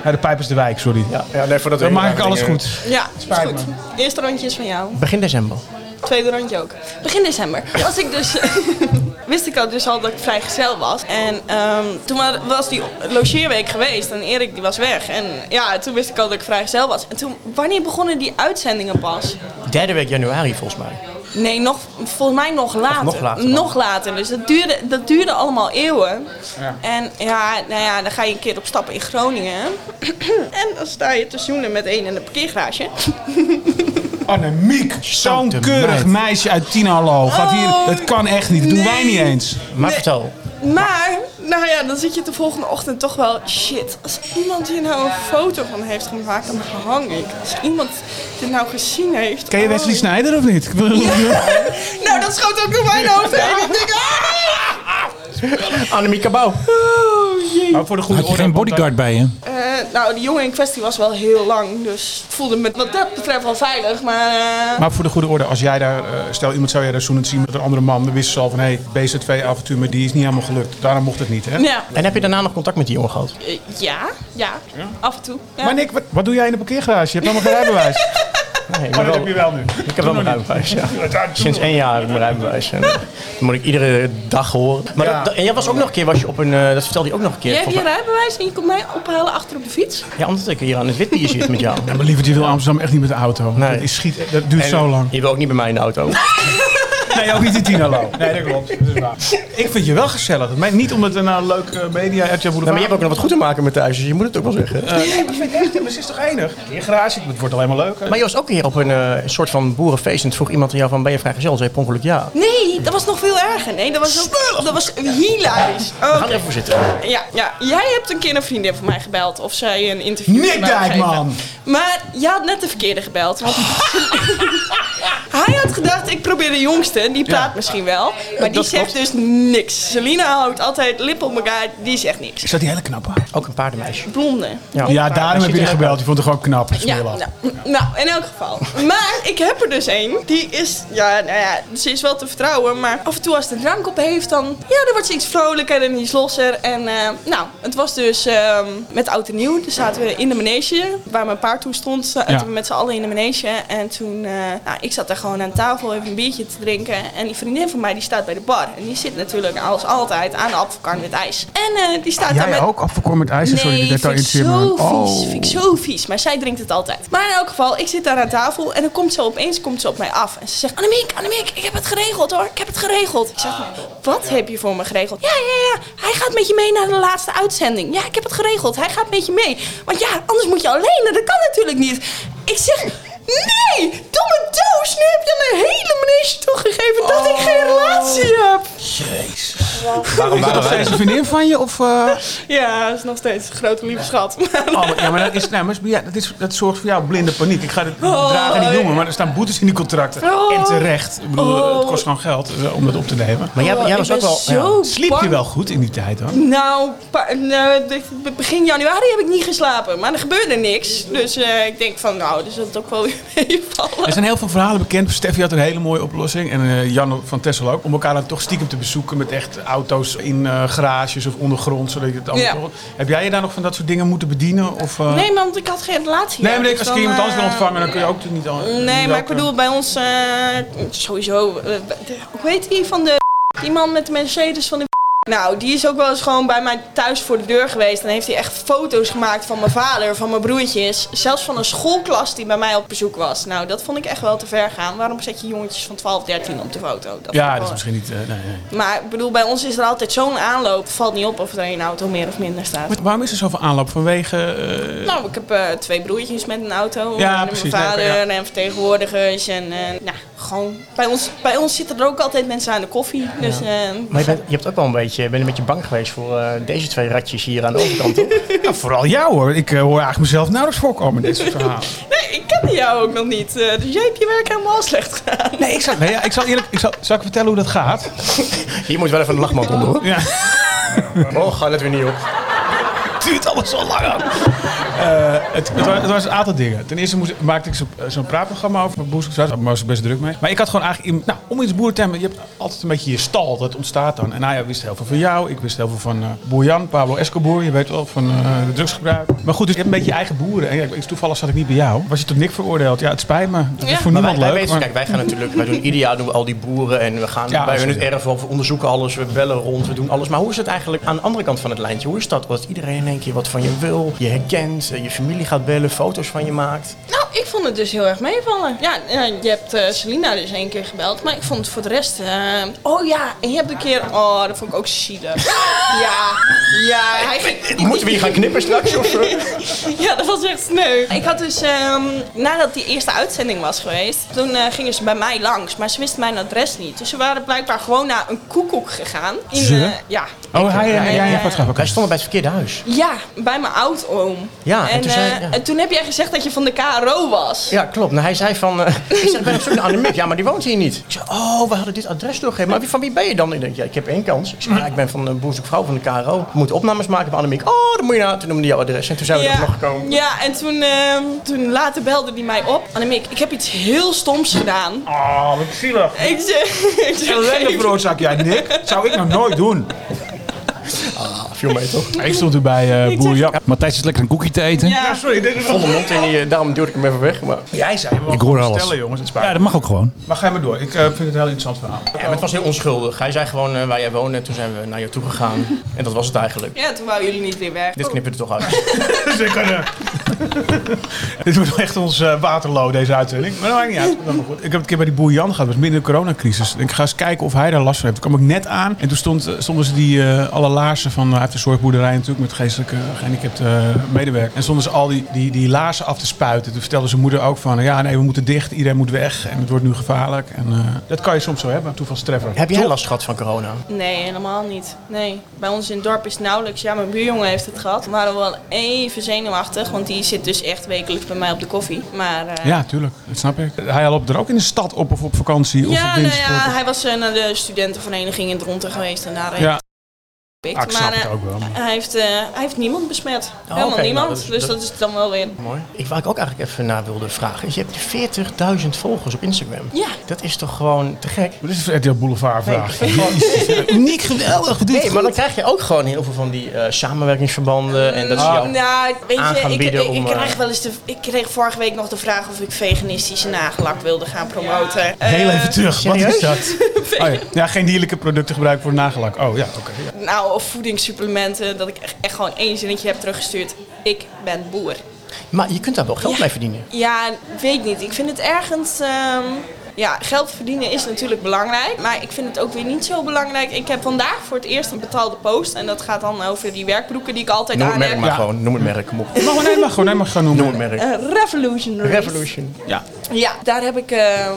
C: ja, de pijp is de wijk, sorry.
B: Ja, ja nee, voordat
C: Dan maak ik alles goed.
D: Ja, is
C: Spijt
D: goed.
C: me.
D: Eerste rondje is van jou.
B: Begin december.
D: Tweede rondje ook. Begin december. Was ik dus... wist ik al dus al dat ik vrijgezel was. En ehm, toen wa- was die logeerweek geweest en Erik die was weg. En ja, toen wist ik al dat ik vrijgezel was. En toen, wanneer begonnen die uitzendingen pas?
B: Derde week januari volgens mij.
D: Nee, nog, volgens mij nog later.
B: nog later dan.
D: Nog later. Dus dat duurde, dat duurde allemaal eeuwen. En ja, nou ja, dan ga je een keer op stap in Groningen. en dan sta je te zoenen met één in de parkeergarage.
C: Annemiek, zo'n
B: Zoute meid.
C: keurig meisje uit Tinalo. Gaat hier,
D: Oh,
C: het kan echt niet. Dat doen wij
D: nee.
C: niet eens.
B: Maar vertel.
D: Maar, nou ja, dan zit je de volgende ochtend toch wel... Shit, als iemand hier nou een foto van heeft gemaakt, dan hang ik. Als iemand dit nou gezien heeft...
C: Ken je
D: oh.
C: Wesley Snijder of niet?
D: Nou, dat schoot ook door mijn hoofd heen. Ik denk, ah!
B: Annemiek Cabau.
D: Oh, jee.
C: Maar voor de goede
A: Had je geen bodyguard bij je?
D: Eh, nou, die jongen in kwestie was wel heel lang, dus ik voelde me wat dat betreft wel veilig, maar... eh,
C: Maar voor de goede orde, als jij daar, eh, stel iemand zou jij daar zoenend zien met een andere man, dan wisten ze al van hé, hey, BZV-avontuur, maar die is niet helemaal gelukt. Daarom mocht het niet, hè?
D: Ja,
B: En heb je daarna nog contact met die jongen gehad?
D: eh, ja, ja, af en toe. Ja.
C: Maar Nick, wat, wat doe jij in de parkeergarage? Je hebt helemaal geen rijbewijs.
B: Nee,
C: Maar dat heb je wel nu.
B: Ik heb wel mijn rijbewijs, ja. Sinds één jaar heb ik mijn rijbewijs. En, eh, dat moet ik iedere dag horen. Maar
C: Ja.
B: dat- en jij was ook nog een keer was je op een... eh, dat vertelde hij ook nog een keer.
D: Jij hebt je
B: volgens
D: rijbewijs en je komt mij ophalen achter op de fiets?
B: mij. Ja, omdat ik hier aan het witbier zit met jou.
C: Maar liever, je wil Amsterdam echt niet met de auto.
B: Nee.
C: Dat, is schiet, dat duurt
B: En
C: zo lang.
B: Je wil ook niet bij mij in de auto.
C: Nee, ook niet in Tinalo. Nee, dat klopt. Dat is waar. Ik vind je wel gezellig. Het meent niet omdat er nou leuk eh, media uit jouw boulevard...
B: Nou, maar je hebt ook nog wat goed te maken met thuis, dus je moet het ook wel zeggen.
C: Nee, maar vind ik echt, maar ze is toch enig? Een garage, het wordt alleen maar leuker.
B: Maar je was ook een keer op een eh, soort van boerenfeest en toen vroeg iemand aan jou van ben je vrijgezel? Toen zei je per ongeluk ja.
D: Nee, dat was nog veel erger. Nee, dat was, ook, dat was hilarisch.
B: We
D: Oh,
B: gaan er even voor zitten.
D: ja, ja, jij hebt een keer een vriendin van mij gebeld of zij een interview
C: Nick
D: met mij wou
C: Dijkman.
D: geven. Maar jij had net de verkeerde gebeld. Want Hij had gedacht, ik probeer de jongste. Die praat misschien wel. Maar die
B: dat
D: zegt dus niks. Selina houdt altijd lippen op elkaar. Die zegt niks.
C: Is dat die hele knappe?
B: Ook een paardenmeisje.
D: Blonde.
B: Ja.
C: Ja, daarom heb je die gebeld. Die vond het gewoon knap.
D: Ja,
C: smeerlap.
D: nou, nou, in elk geval. Maar ik heb er dus één. Die is, ja, nou ja, ze is wel te vertrouwen. Maar af en toe als ze drank op heeft, dan, ja, dan wordt ze iets vrolijker en iets losser. En eh, nou, het was dus ehm, met oud en nieuw. Dus zaten we in de manege, waar mijn paard toen stond. Zaten
C: Ja.
D: we met z'n allen in de manege. En toen, eh, nou, ik zat daar gewoon aan tafel even een biertje te drinken. En die vriendin van mij, die staat bij de bar. En die zit natuurlijk als altijd aan de appelkar met ijs. En eh, die staat daar
C: Ah, Jij
D: met...
C: ook? Afgekomen met ijs? Sorry,
D: Nee,
C: dat ik daar
D: vind ik
C: in
D: zo
C: zit, maar-
D: vies.
C: Oh.
D: Vind ik zo vies. Maar zij drinkt het altijd. Maar in elk geval, ik zit daar aan tafel en dan komt ze opeens komt ze op mij af. En ze zegt, Annemiek, Annemiek, ik heb het geregeld hoor. Ik heb het geregeld. Ik
C: Ah.
D: zeg, wat heb je voor me geregeld? Ja, ja, ja. Hij gaat met je mee naar de laatste uitzending. Ja, ik heb het geregeld. Hij gaat met je mee. Want ja, anders moet je alleen. Dat kan natuurlijk niet. Ik zeg... Nee, domme doos. Nu heb je aan een hele manege toegegeven dat ik
C: Oh.
D: geen relatie heb.
B: Waarom
C: Is dat
B: waren
C: nog
B: wij
C: steeds een vriendin van je? Of, eh?
D: Ja, dat is nog steeds een grote lieve schat.
C: Oh, maar- ja, maar dat, is, nee, maar dat is- ja, dat, is, dat zorgt voor jou blinde paniek. Ik ga dit dragen niet noemen, maar er staan boetes in die contracten.
D: Oh.
C: En terecht. Ik bedoel,
D: Oh.
C: het kost gewoon geld eh, om dat op te nemen.
B: Maar jij,
D: Oh,
B: jij
D: ik
B: was
D: ben
B: ook wel...
D: zo
C: Sliep je
D: bang.
C: wel goed in die tijd dan?
D: Nou, pa- nou, de- begin januari heb ik niet geslapen, maar er gebeurde niks. Dus eh, ik denk van, nou, dus dat het ook wel weer
C: Er
D: meevallen.
C: zijn heel veel verhalen bekend. Steffi had een hele mooie oplossing. En eh, Jan van Tessel ook. Om elkaar dan toch stiekem te bezoeken met echt auto's in eh, garages of ondergrond. Zodat je het allemaal...
D: Ja.
C: Heb jij je daar nog van dat soort dingen moeten bedienen? Of, eh?
D: Nee, maar want ik had geen relatie.
C: Nee, maar
D: dus
C: ik als je
D: dan,
C: iemand anders wil
D: eh,
C: ontvangen, dan kun je ook natuurlijk niet... al-
D: Nee,
C: niet
D: maar
C: ook,
D: ik bedoel, bij ons eh, sowieso... eh, de- hoe heet die van de... Die man met de Mercedes van de... Nou, die is ook wel eens gewoon bij mij thuis voor de deur geweest. En heeft hij echt foto's gemaakt van mijn vader, van mijn broertjes. Zelfs van een schoolklas die bij mij op bezoek was. Nou, dat vond ik echt wel te ver gaan. Waarom zet je jongetjes van 12, 13 op de foto? Dat
C: eh,
D: vond ik
C: Ja, dat
D: wel-
C: is misschien niet... eh, nee, nee.
D: Maar ik bedoel, bij ons is er altijd zo'n aanloop. Het valt niet op of er een auto meer of minder staat.
C: Maar waarom is er zoveel aanloop? Vanwege... eh,
D: Nou, ik heb eh, twee broertjes met een auto.
C: Ja,
D: en mijn
C: precies.
D: vader
C: Nee, oké,
D: en vertegenwoordigers. En eh, nou, gewoon. Bij ons, bij ons zitten er ook altijd mensen aan de koffie. Dus eh,
B: Maar je, bent, je hebt ook wel een beetje, bent een beetje bang geweest voor eh, deze twee ratjes hier aan de overkant. toch?
C: Ja, vooral jou hoor. Ik eh, hoor eigenlijk mezelf nauwelijks voorkomen in dit soort verhalen.
D: nee, ik kende jou ook nog niet. eh, dus jij hebt je werk helemaal slecht gedaan.
C: Nee, ik zal, nee, ja, ik zal eerlijk... Ik zal, zal ik vertellen hoe dat gaat?
B: Hier moet wel even een lachman onder hoor.
C: Ja.
B: Oh, ga let weer niet op.
C: duurt allemaal zo lang aan. Eh, het, het, wa- het was een aantal dingen. Ten eerste moest, maakte ik zo- eh, zo'n praatprogramma over boers. Daar was ik best druk mee. Maar ik had gewoon eigenlijk... in- nou, om iets boer te hebben, je hebt altijd een beetje je stal. Dat ontstaat dan. En Naya wist heel veel van jou. Ik wist heel veel van eh boer Jan, Pablo Escobar. Je weet wel, van eh de drugsgebruik. Maar goed, dus je hebt een beetje je eigen boeren. En ja, ik- toevallig zat ik niet bij jou. Was je tot Nick veroordeeld? Ja, het spijt me. Dat is
D: Ja.
C: voor
B: Maar
C: niemand
B: wij, wij
C: leuk.
B: weten-
C: maar-
B: kijk, wij gaan natuurlijk, wij doen ieder jaar doen we al die boeren en we gaan
C: Ja,
B: bij hun het
C: zeker.
B: erf op, we onderzoeken alles, we bellen rond, we doen alles. Maar hoe is het eigenlijk aan de andere kant van het lijntje? Hoe is dat? Dat iedereen in één keer wat van je wil, je herkent, eh, je familie gaat bellen, foto's van je maakt.
D: Nou, ik vond het dus heel erg meevallen. Ja, eh, je hebt eh Selina dus één keer gebeld, maar ik vond het voor de rest... eh, oh ja, en je hebt een keer... Oh, dat vond ik ook zielig. ja, ja. Hij ging,
B: Moeten we hier gaan knippen straks? Of, eh?
D: Ja, dat was echt sneu. Ik had dus, ehm, nadat die eerste uitzending was geweest, toen eh, gingen ze bij mij langs, maar ze wisten mijn adres niet. Dus ze waren blijkbaar gewoon naar een koekoek gegaan. In,
C: Ze?
D: eh, ja.
C: Oh, hij, hij, jij
D: ja.
C: hebt wat graag.
B: Wij stonden bij het verkeerde huis.
D: Ja, bij mijn oud-oom.
B: Ja, en toen zei-
D: eh,
B: ja.
D: en toen heb jij gezegd dat je van de KRO was.
B: Ja, klopt. Nou, hij zei van, eh, ik zeg, ben op zoek naar Annemiek. Ja, maar die woont hier niet. Ik zei, oh, we hadden dit adres doorgegeven. Maar wie- van wie ben je dan? Ik denk, ja, ik heb één kans. Ik zeg, ja, ik ben van een boerzoekvrouw van de KRO. We moeten opnames maken bij Annemiek. Oh, dan moet je naar. Toen noemde hij jouw adres. En toen zijn we er nog gekomen.
D: ja, en toen, ehm, toen later belde hij mij op. Annemiek, ik heb iets heel stoms gedaan.
C: Oh, wat zielig.
D: Ik zeg... Ik zeg
C: Ellende veroorzaak jij, Nick. Zou ik nou nooit doen.
B: Viel mee, toch?
C: Ik stond er bij eh boer Jan.
A: Matthijs is lekker een koekje te eten. Ja,
D: ja.
C: sorry, dit is
B: Volle mond en die, eh, daarom duwde ik hem even weg. Maar...
C: Jij zei,
A: Ik hoor alles.
C: Stellen, jongens, het spijt. me.
A: dat mag ook gewoon.
C: Maar ga je maar door. Ik eh, vind het een heel interessant verhaal.
B: Ja, maar het was heel onschuldig. Hij zei gewoon eh, waar jij woonde. Toen zijn we naar jou toe gegaan. En dat was het eigenlijk.
D: ja, toen wou jullie niet weer weg.
B: Dit knippen we er toch uit.
C: Dus ik, eh, dit wordt wel echt ons eh, waterloo, deze uitzending. Maar dat maakt niet uit. Dat is wel goed. Ik heb het een keer bij die boer Jan gehad. Dat was midden in de coronacrisis. Ik ga eens kijken of hij daar last van heeft. Toen kwam ik net aan. En toen stond, eh, stonden ze die eh, alle laarzen van... eh, uit de zorgboerderij natuurlijk met geestelijke gehandicapte eh, medewerkers. En stonden ze al die, die, die laarzen af te spuiten. Toen vertelde zijn moeder ook van... Ja, nee, we moeten dicht. Iedereen moet weg. En het wordt nu gevaarlijk. En eh, dat kan je soms zo hebben. Toevalstreffer.
B: Heb jij last gehad van corona?
D: Nee, helemaal niet. Nee. Bij ons in het dorp is nauwelijks. Ja, mijn buurjongen heeft het gehad. We waren wel even zenuwachtig, want die zit dus echt wekelijks bij mij op de koffie. Maar eh,
C: Ja, tuurlijk. Dat snap ik. Hij loopt er ook in de stad op of op vakantie of op
D: ja, nou ja,
C: wintersport.
D: hij was eh, naar de studentenvereniging in Dronten geweest en daar heeft
C: Ja.
D: hij gepikt.
C: Ah, ik snap
D: eh,
C: het ook wel.
D: Hij heeft, eh, hij heeft niemand besmet. Helemaal
B: oké, nou,
D: niemand.
B: dat is-
D: dus
B: dat-
D: dat is dan wel weer.
B: Mooi. Ik, waar ik ook eigenlijk even naar wilde vragen is, je hebt 40.000 volgers op Instagram.
D: Ja.
B: Dat is toch gewoon te gek?
C: Dit is een RTL Boulevard vraag.
B: Uniek, geweldig. Nee, maar dan krijg je ook gewoon heel veel van die eh, samenwerkingsverbanden. En
C: Ah,
B: dat is jouw...
D: Nou, weet
B: aan
D: je,
B: gaan
D: ik, ik,
B: bieden
D: ik
B: om, eh,
D: krijg wel eens de, ik kreeg vorige week nog de vraag of ik veganistische nagelak wilde gaan promoten.
C: Heel
D: Eh,
C: even terug. Wat is
B: serieus?
C: dat? Oh, ja. ja, geen dierlijke producten gebruiken voor nagelak. Oh ja, oké. ja.
D: nou, of voedingssupplementen, dat ik echt, echt gewoon één zinnetje heb teruggestuurd. Ik ben boer.
B: Maar je kunt daar wel geld mee verdienen.
D: Ja, weet niet. Ik vind het ergens. ehm, ja, geld verdienen is natuurlijk belangrijk. Maar ik vind het ook weer niet zo belangrijk. Ik heb vandaag voor het eerst een betaalde post. En dat gaat dan over die werkbroeken die ik altijd
B: Noem
D: aan
B: het merk
D: heb.
B: maar
C: Ja.
B: gewoon. Noem het merk. Kom op.
C: Mag, nee, mag gewoon, nee, mag gewoon
B: Noem het
C: noemen.
B: merk.
D: Eh, Revolutionaries.
B: Revolution.
C: Ja.
D: Ja, daar heb ik eh, eh,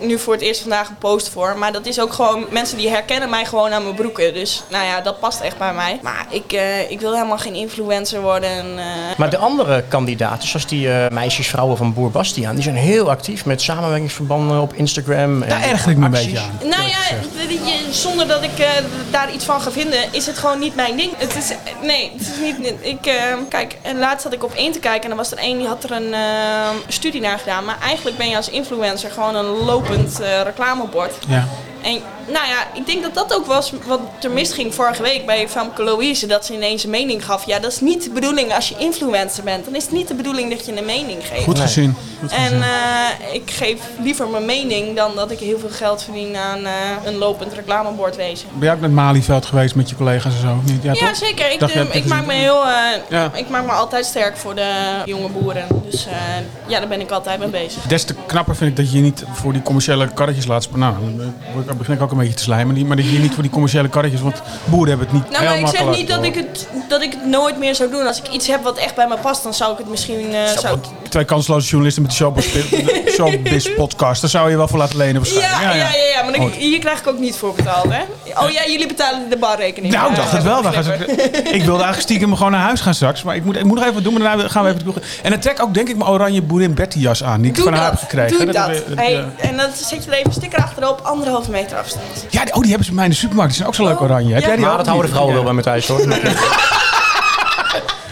D: nu voor het eerst vandaag een post voor. Maar dat is ook gewoon, mensen die herkennen mij gewoon aan mijn broeken. Dus nou ja, dat past echt bij mij. Maar ik, eh, ik wil helemaal geen influencer worden. eh.
B: Maar de andere kandidaten, zoals die eh, meisjes, vrouwen van Boer Bastiaan, die zijn heel actief met samenwerkingsverbanden op Instagram. en
C: Daar erger ik me een
B: acties.
C: beetje aan.
D: Nou ja, weet je, zonder dat ik eh, daar iets van ga vinden, is het gewoon niet mijn ding. Het is, nee, het is niet. niet- Ik, eh, kijk, en laatst zat ik op één te kijken en er was er één die had er een eh, studie naar gedaan. Maar eigenlijk ben je als influencer gewoon een lopend eh, reclamebord.
C: Ja.
D: En nou ja, ik denk dat dat ook was wat er misging vorige week bij Famke Louise. Dat ze ineens een mening gaf. Ja, dat is niet de bedoeling als je influencer bent. Dan is het niet de bedoeling dat je een mening geeft.
C: Goed gezien.
D: En eh, ik geef liever mijn mening dan dat ik heel veel geld verdien aan eh, een lopend reclamebord wezen.
C: Ben jij ook met Malieveld geweest met je collega's en zo? Niet? Ja,
D: Ja,
C: toch?
D: zeker. Ik,
C: Dacht,
D: eh,
C: je hebt
D: ik,
C: het
D: maak me heel, eh,
C: Ja.
D: ik maak me altijd sterk voor de jonge boeren. Dus eh, ja, daar ben ik altijd mee bezig.
C: Des te knapper vind ik dat je je niet voor die commerciële karretjes laat spelen. Nou, dan word ik- dan begin ik ook een beetje te slijmen. die- Maar dat je je niet voor die commerciële karretjes, want boeren hebben het niet
D: Nou, maar
C: heel
D: ik zeg
C: makkelijk.
D: niet dat ik, het, dat ik het nooit meer zou doen. Als ik iets heb wat echt bij me past, dan zou ik het misschien... eh, zou ik-
C: Twee kansloze journalisten met de Showbiz, de Showbiz podcast. Daar zou je wel voor laten lenen waarschijnlijk.
D: Ja, ja, ja, ja, maar dan-
C: Goed.
D: hier krijg ik ook niet voor betaald, hè? Oh ja, jullie betalen de barrekening.
C: Nou, ik
D: Eh,
C: dacht het wel. Dan gaan ze- ik wilde eigenlijk stiekem gewoon naar huis gaan straks. Maar ik moet, ik moet nog even wat doen, maar daarna gaan we even... terug. En dan trek ook denk ik mijn oranje boerin Betty jas aan. Die ik
D: Doe
C: van
D: dat.
C: haar heb gekregen.
D: Doe dat.
C: hebben we-
D: Hey,
C: ja.
D: En dan zet je er even een sticker achterop, anderhalve meter afstand.
C: Ja, die- oh, die hebben ze bij mij in de supermarkt. Die zijn ook zo leuk
D: Oh,
C: oranje. Heb
D: ja.
C: jij die
B: Maar
C: ook
B: dat houden de
C: niet?
B: vrouwen wel bij me thuis hoor.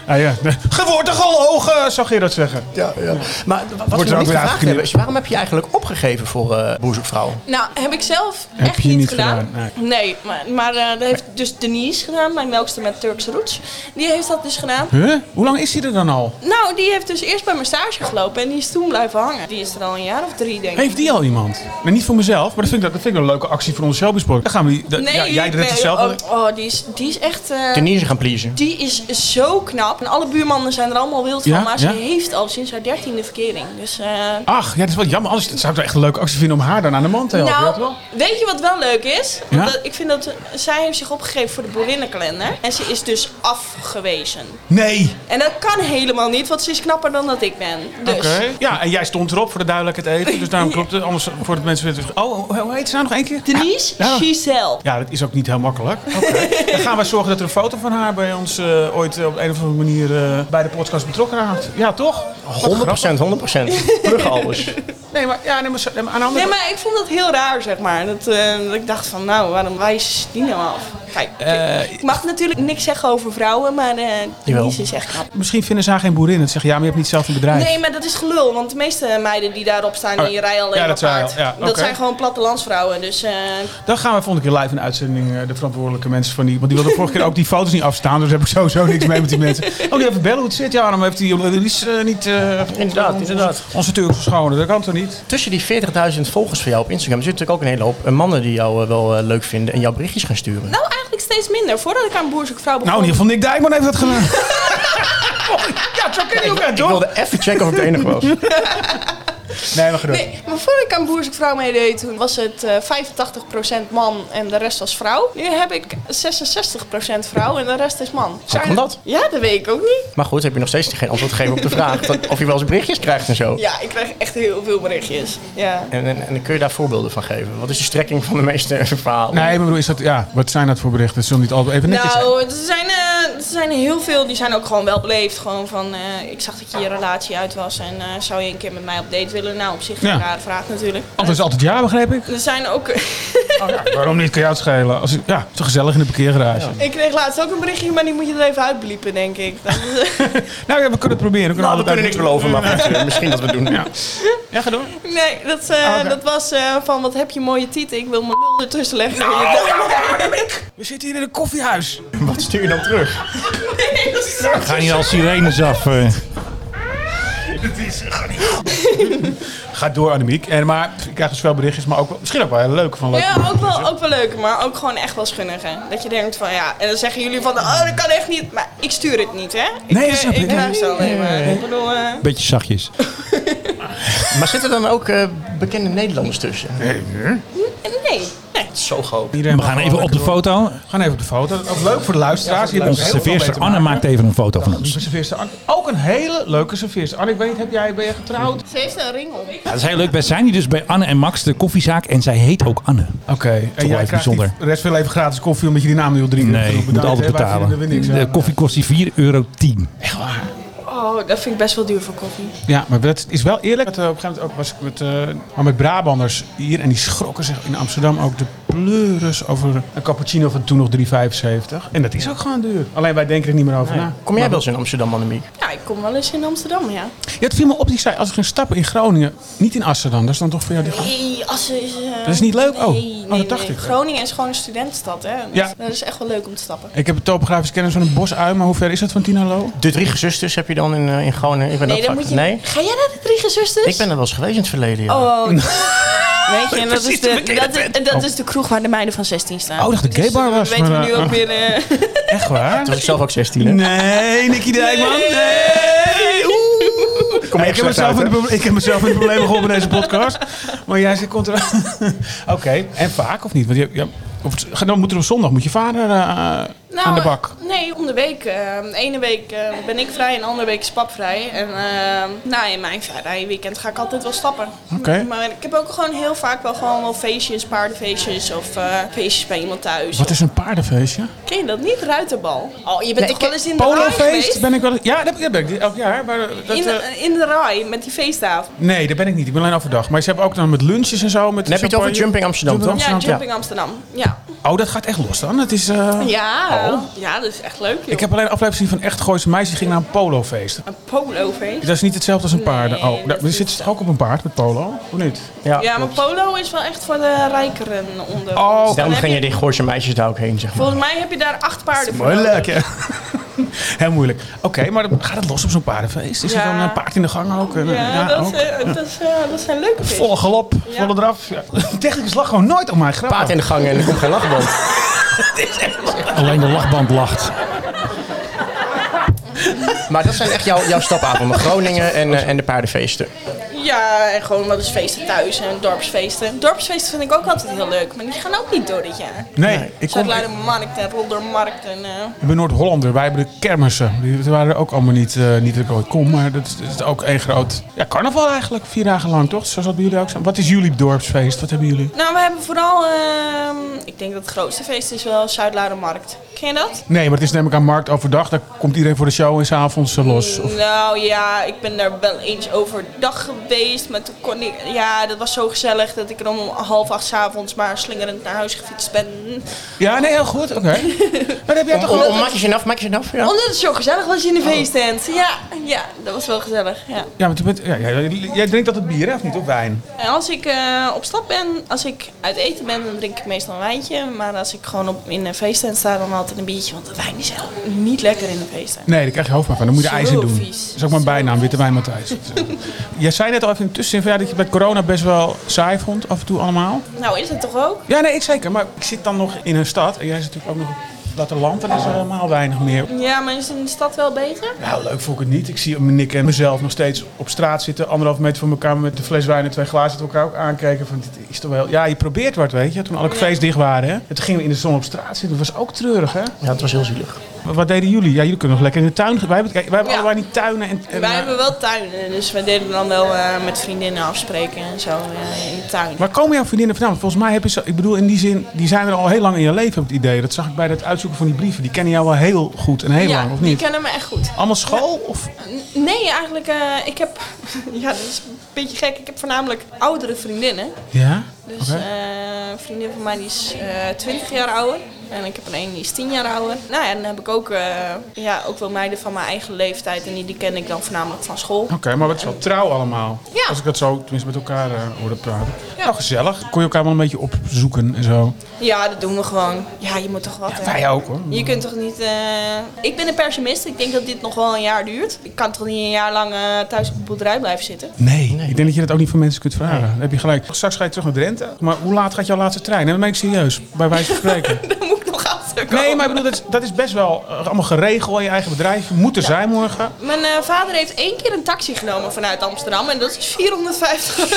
C: Ah, ja. Ge wordt toch al ogen, zou Gerard zeggen.
B: ja, ja. Maar wat
C: er
B: we nog
C: ook weer
B: niet gevraagd
C: uitgeknipt.
B: hebben is, waarom heb je je eigenlijk opgegeven voor eh Boer Zoekt Vrouw?
D: Nou, heb ik zelf
C: Heb
D: echt
C: je
D: niet
C: niet
D: gedaan.
C: gedaan,
D: Nee, maar, maar eh, dat heeft dus Denise gedaan, mijn melkster met Turkse roots. Die heeft dat dus gedaan.
C: Huh? Hoe lang is hij er dan al?
D: Nou, die heeft dus eerst bij mijn stage gelopen en die is toen blijven hangen. Die is er al een jaar of drie, denk ik.
C: Heeft die al iemand? Maar niet voor mezelf, maar dat vind ik, dat vind ik een leuke actie voor onze showbiesport. Dan gaan we die, dat- ja, jij redt het
D: nee,
C: zelf.
D: Oh, oh, die, is, die is echt... eh,
B: Denise gaan pleasen.
D: Die is zo knap. En alle buurmannen zijn er allemaal wild van.
C: Ja,
D: Maar ze
C: ja.
D: heeft al sinds haar dertiende verkering. Dus, eh,
C: Ach, ja, dat is wel jammer. Anders zou ik toch echt een leuke actie vinden om haar dan aan de man te helpen. weet je
D: nou,
C: wel?
D: weet je wat wel leuk is? Want
C: Ja?
D: dat- ik vind dat zij heeft zich opgegeven voor de boerinnenkalender. En ze is dus afgewezen.
C: Nee.
D: En dat kan helemaal niet, want ze is knapper dan dat ik ben. Dus.
C: Ja, en jij stond erop voor de duidelijkheid eten. Dus daarom klopt het. Anders voor de mensen weten. Oh, hoe- hoe heet ze nou nog één keer?
D: Denise
C: Ja.
D: Giselle.
C: Ja, dat is ook niet heel makkelijk. Dan gaan we zorgen dat er een foto van haar bij ons eh, ooit op een of andere manier eh, bij de podcast betrokken raakt. Ja, toch?
B: 100%, 100%. Plug alles.
C: Nee, maar, ja, nee, maar, zo- nee, maar aan de andere
D: Nee, maar ik vond dat heel raar, zeg maar. Dat, eh, dat ik dacht van, nou, waarom wijst die nou af? Kijk, ik-
C: Eh,
D: ik mag natuurlijk niks zeggen over vrouwen, maar eh
B: Jawel.
D: Denise is echt knap.
C: Misschien vinden ze haar geen boerin. Dat zeggen, ja, maar je hebt niet zelf een bedrijf.
D: Nee, maar dat is gelul, want de meeste meiden die daarop staan,
C: Oh,
D: die rijden alleen
C: ja,
D: maar
C: dat zei je
D: paard.
C: al, ja,
D: dat
C: oké.
D: zijn gewoon plattelandsvrouwen, dus... eh,
C: Dan gaan we volgende keer live in de uitzending eh, de verantwoordelijke mensen van die. Want die wilden vorige keer ook die foto's niet afstaan. Dus daar heb ik sowieso niks mee met die mensen. Oh, die even bellen hoe het zit. Ja, dan heeft die Lies eh, niet. eh,
B: Inderdaad, inderdaad.
C: Onze Turkse schone, dat kan toch niet?
B: Tussen die 40.000 volgers van jou op Instagram zitten natuurlijk ook een hele hoop eh, mannen die jou eh, wel eh, leuk vinden en jouw berichtjes gaan sturen.
D: nou, eigenlijk steeds minder. Voordat ik aan Boer Zoekt Vrouw begon...
C: Nou, in ieder geval Nick Dijkman heeft dat gedaan. ja, zo ken je ook uit,
B: Ik
C: toch?
B: wilde even checken of ik de enige was.
C: Nee, maar genoeg.
D: Nee, maar voor ik aan Boerse Vrouw meedeed, toen was het eh, 85% man en de rest was vrouw. Nu heb ik 66% vrouw en de rest is man. Zou
B: kan dat?
D: Ja, dat weet ik ook niet.
B: Maar goed, heb je nog steeds geen antwoord gegeven op de vraag dat- of je wel eens berichtjes krijgt en zo.
D: Ja, ik krijg echt heel veel berichtjes. Ja.
B: En, en, en kun je daar voorbeelden van geven? Wat is de strekking van de meeste verhalen?
C: Nee, maar bedoel, is dat, ja, wat zijn dat voor berichten? Zullen we niet altijd even netjes zijn?
D: Nou, er zijn, eh, er zijn heel veel, die zijn ook gewoon wel beleefd. Gewoon van, eh, ik zag dat je je relatie uit was en eh, zou je een keer met mij op date willen? Nou, op zich geen
C: Ja.
D: rare vraag natuurlijk.
C: Antwoord is altijd ja, begreep ik.
D: Er zijn ook...
C: waarom niet? Kan je uitschelen? Als, ja, zo gezellig in de parkeergarage.
D: ik kreeg laatst ook een berichtje, maar die moet je er even uitbliepen, denk ik. Dat is-
C: Nou ja, we kunnen het proberen. We
B: Nou,
C: kunnen
B: we
C: altijd
B: kunnen niks beloven, maar goed, eh, misschien dat we het doen.
C: Ja.
D: Nou,
C: Ja, ga door.
D: Nee, dat,
A: Oh,
D: eh,
A: nou.
C: Ah, oké.
D: dat was eh, van wat heb je mooie tieten, ik wil mijn lul ertussen leggen.
C: We zitten hier in een koffiehuis.
B: Wat stuur je dan terug?
A: Gaan hier al sirenes af. eh.
C: Ga door, Annemiek. En, maar ik krijg dus veel berichtjes, maar ook wel, misschien ook wel heel leuk. Van,
D: Ja, ook wel, ook wel leuk, maar ook gewoon echt wel schunnig, hè. Dat je denkt van ja, en dan zeggen jullie van oh dat kan echt niet, maar ik stuur het niet hè. Ik,
A: Nee,
D: eh,
A: snap ik.
D: ik krijg ze alleen maar. Ik bedoel, eh,
A: Beetje zachtjes.
B: Maar zitten dan ook eh, bekende Nederlanders tussen?
D: nee, nee.
B: Zo groot.
A: We gaan even op de foto.
C: We gaan even op de foto. Dat is ook leuk voor de luisteraars. Hier hebben
A: Onze
C: we heel veel
A: serveerster
C: mee te
A: Anne maakt even een foto van ons.
C: maken. Serveerster Anne. Ook een hele leuke serveerster. Anne, ik weet, heb jij, ben je getrouwd?
D: Ze heeft een ring op.
A: Ja, dat is heel leuk. Wij zijn hier dus bij Anne en Max, de koffiezaak. En zij heet ook Anne.
C: Oké.
A: wel
C: En jij
A: even
C: krijgt
A: bijzonder.
C: die rest veel even gratis koffie, omdat je die naam niet wil drinken.
A: Nee, je moet altijd betalen. De koffie kost hier 4,10 euro.
D: Oh, dat vind ik best wel duur voor koffie.
C: Ja, maar dat is wel eerlijk. Dat, eh, op een gegeven moment ook was ik met, eh, maar met Brabanders hier en die schrokken zich in Amsterdam ook de pleuris over een cappuccino van toen nog 3,75. En dat is ook gewoon duur. Alleen wij denken er niet meer over na.
B: Kom jij wel eens in Amsterdam, Annemiek?
D: Ja, ik kom wel eens in Amsterdam, ja.
C: Ja, het viel me op, die zei, als ik ging stappen in Groningen, niet in Amsterdam, dat is dan toch voor jou die...
D: Nee, Assen is... eh,
C: Dat is niet leuk? Oh.
D: nee,
C: Oh,
D: nee,
C: dat dacht
D: nee.
C: ik.
D: Groningen is gewoon een studentstad, hè. Dat,
C: Ja.
D: dat is echt wel leuk om te stappen.
C: Ik heb een topografische kennis van een bosui, maar hoe ver is dat van
D: Oh,
C: Tinalo?
B: De drie gezusters heb je dan in, eh, in Groningen? Ik ben
D: Nee,
B: ook
D: dan
B: vaak-
D: moet je...
B: Nee?
D: Ga jij naar de drie gezusters?
B: Ik ben er wel eens geweest in het verleden, ja.
D: Oh, weet je, en dat, is
B: Precies
D: de,
B: de verkeerde
D: dat, is, dat is de kroeg waar de meiden van 16 staan.
C: Oh, ik dacht de
D: Dus,
C: gay bar
D: eh,
C: was,
D: weten
C: maar,
D: we nu
C: eh,
D: ook weer... eh,
C: Echt waar?
B: Toen was ik zelf ook 16, hè?
C: Nee, Nicky Dijkman, nee! Oeh.
B: Kom
C: Ik heb, mezelf in de, proble- ik heb mezelf in de problemen geholpen in deze podcast. Maar jij zegt, komt er... Oké, en vaak of niet? Want je, ja, of het- ga- dan moet er op zondag moet je vader eh,
D: nou,
C: aan de bak.
D: Nee, om de week. eh, de ene week eh, ben ik vrij en de andere week is pap vrij. En eh, nou, in mijn vrijweekend ga ik altijd wel stappen.
C: Oké.
D: Maar ik heb ook gewoon heel vaak wel gewoon wel feestjes, paardenfeestjes of eh, feestjes bij iemand thuis.
C: Wat is een paardenfeestje?
D: Ken je dat niet? Ruiterbal. Oh, je bent toch wel eens in de raai
C: Polofeest
D: geweest?
C: ben ik wel... Ja, dat dat ben ik elk jaar. Maar dat,
D: In
C: eh,
D: de, in de raai, met die feestavond.
C: nee, dat ben ik niet. Ik ben alleen overdag. Maar ze hebben ook dan met lunches en zo. Met
B: Dan heb je het over
C: champagne.
B: Jumping Amsterdam,
C: Jumping
B: toch?
D: Ja,
C: Amsterdam,
D: Jumping Amsterdam. Ja.
C: ja. Oh, dat gaat echt los dan. Het is... eh,
D: Oh. Ja, ja, dat is echt leuk. Joh.
C: Ik heb alleen een aflevering gezien van Echt Gooise Meisjes. Die ging naar een polofeest.
D: een polofeest.
C: Dat is niet hetzelfde als een paarden. Oh, daar
D: dat is
C: zit ze toch ook op een paard met polo? Of niet?
D: Ja, maar polo is wel echt voor de rijkeren onder.
C: Oh,
D: ons. Dan
B: Daarom
D: heb
B: gingen
D: je-
B: die Gooise meisjes daar ook heen, zeg maar.
D: Volgens mij heb je daar acht paarden voor. nodig.
C: Moeilijk, hè? Heel moeilijk. Oké, maar dan gaat het los op zo'n paardenfeest? Is
D: Ja.
C: er dan een paard in de gang ook? En, eh,
D: Ja,
C: ook.
D: dat, is, eh, dat, is, eh, dat zijn leuke feesten.
C: Volle galop,
D: Ja.
C: volle draf. Ja. De technicus lag gewoon nooit op mijn grap.
B: Paard in de gang en er komt geen lachband.
A: Alleen de lachband lacht.
B: Maar dat zijn echt jouw, jouw stapavonden. Groningen en, eh, en de paardenfeesten.
D: Ja, en gewoon wel eens feesten thuis en dorpsfeesten. Dorpsfeesten vind ik ook altijd heel leuk, maar die gaan ook niet door dit jaar.
C: Nee, ik, kom, ik,
D: Zuid-Leidenmarkt en Roldermarkt en... eh,
C: ben Noord-Hollander. Wij hebben de kermissen. Die die waren ook allemaal niet, eh, niet dat ik ooit kom. Maar dat is, dat is ook één groot... Ja, carnaval eigenlijk. Vier dagen lang, toch? Zo zal bij jullie ook zijn. Wat is jullie dorpsfeest? Wat hebben jullie?
D: Nou, we hebben vooral... ehm, ik denk dat het grootste feest is wel Zuid-Leidenmarkt. Ken je dat?
C: Nee, maar het is namelijk aan markt overdag. Daar komt iedereen voor de show en s'avonds eh, los. Of,
D: Nou ja, ik ben daar wel eens overdag geweest. Maar toen kon ik. Ja, dat was zo gezellig dat ik er om half acht 's avonds maar slingerend naar huis gefietst ben.
C: ja, nee, heel goed. Oké. maar heb jij toch
B: Om,
C: wel...
B: om, maak je ze af, maak je ze af. Ja.
D: Omdat het zo gezellig was in de feesttent. Ja, ja, dat was wel gezellig. Ja.
C: Ja, maar toen bent- ja, ja, jij drinkt altijd bier, hè? Of niet? Of wijn?
D: En als ik eh, op stap ben, als ik uit eten ben, dan drink ik meestal een wijntje. Maar als ik gewoon op, in een feesttent sta, dan altijd een biertje. Want de wijn is heel, niet lekker in de feesttent.
C: Nee, daar krijg je hoofdpijn van. Dan moet je er ijs in
D: Zo
C: doen.
D: vies.
C: Dat is ook mijn bijnaam, Witte Wijn Matthijs. Jij zei net al even in de tussenin van, ja, dat je bij corona best wel saai vond, af en toe allemaal.
D: Nou is het toch ook?
C: Ja, nee, ik zeker. Maar ik zit dan nog in een stad. En jij zit natuurlijk ook nog platteland, dan is er helemaal weinig meer.
D: Ja, maar is het in de stad wel beter?
C: Nou, leuk vond ik het niet. Ik zie Nick en mezelf nog steeds op straat zitten. Anderhalf meter van elkaar met een fles wijn en twee glazen. Dat elkaar ook aankijken van, dit is toch wel... Ja, je probeert wat, weet je. Toen alle cafés dicht waren, hè. En toen gingen we in de zon op straat zitten. Dat was ook treurig, hè.
B: Ja, het was heel zielig.
C: Maar Wat deden jullie? Ja, jullie kunnen nog lekker in de tuin... Wij hebben, kijk, wij hebben
D: Ja.
C: allebei niet tuinen en... en-
D: Wij hebben wel tuinen, dus wij deden dan wel eh, met vriendinnen afspreken en zo eh, in de tuin.
C: Waar komen jouw vriendinnen vandaan? Want volgens mij heb je zo... Ik bedoel, in die zin, die zijn er al heel lang in je leven, heb ik het idee. Dat zag ik bij het uitzoeken van die brieven. Die kennen jou wel heel goed en heel
D: ja,
C: lang, of
D: die
C: niet?
D: kennen me echt goed.
C: Allemaal school? Of...
D: N- Nee, eigenlijk, eh, ik heb, ja, dat is een beetje gek. Ik heb voornamelijk oudere vriendinnen.
C: Ja?
D: Dus
C: Oké.
D: eh, een vriendin van mij die is eh 20 jaar ouder. En ik heb een een die is 10 jaar ouder. Nou ja, dan heb ik ook, eh, ja, ook wel meiden van mijn eigen leeftijd. En die, die ken ik dan voornamelijk van school.
C: Oké, maar het is wel trouw allemaal.
D: Ja.
C: Als ik dat zo tenminste met elkaar eh, hoorde praten. Nou, gezellig. Kon je elkaar wel een beetje opzoeken en zo.
D: Ja, dat doen we gewoon. Ja, je moet toch wat. hè?
C: Wij ook hoor.
D: Je kunt toch niet. eh, Ik ben een pessimist. Ik denk dat dit nog wel een jaar duurt. Ik kan toch niet een jaar lang eh, thuis op een boerderij blijven zitten.
C: Nee. ik denk dat je dat ook niet van mensen kunt vragen. Dan heb je gelijk. Straks ga je terug naar Drenthe. Maar hoe laat gaat jouw laatste trein? En dat meen ik serieus, bij wijze van spreken.
D: Daar moet ik nog achter komen.
C: nee, maar ik bedoel, dat is, dat is best wel eh, allemaal geregeld in je eigen bedrijf. Moet er zijn morgen.
D: Mijn eh, vader heeft één keer een taxi genomen vanuit Amsterdam en dat is 450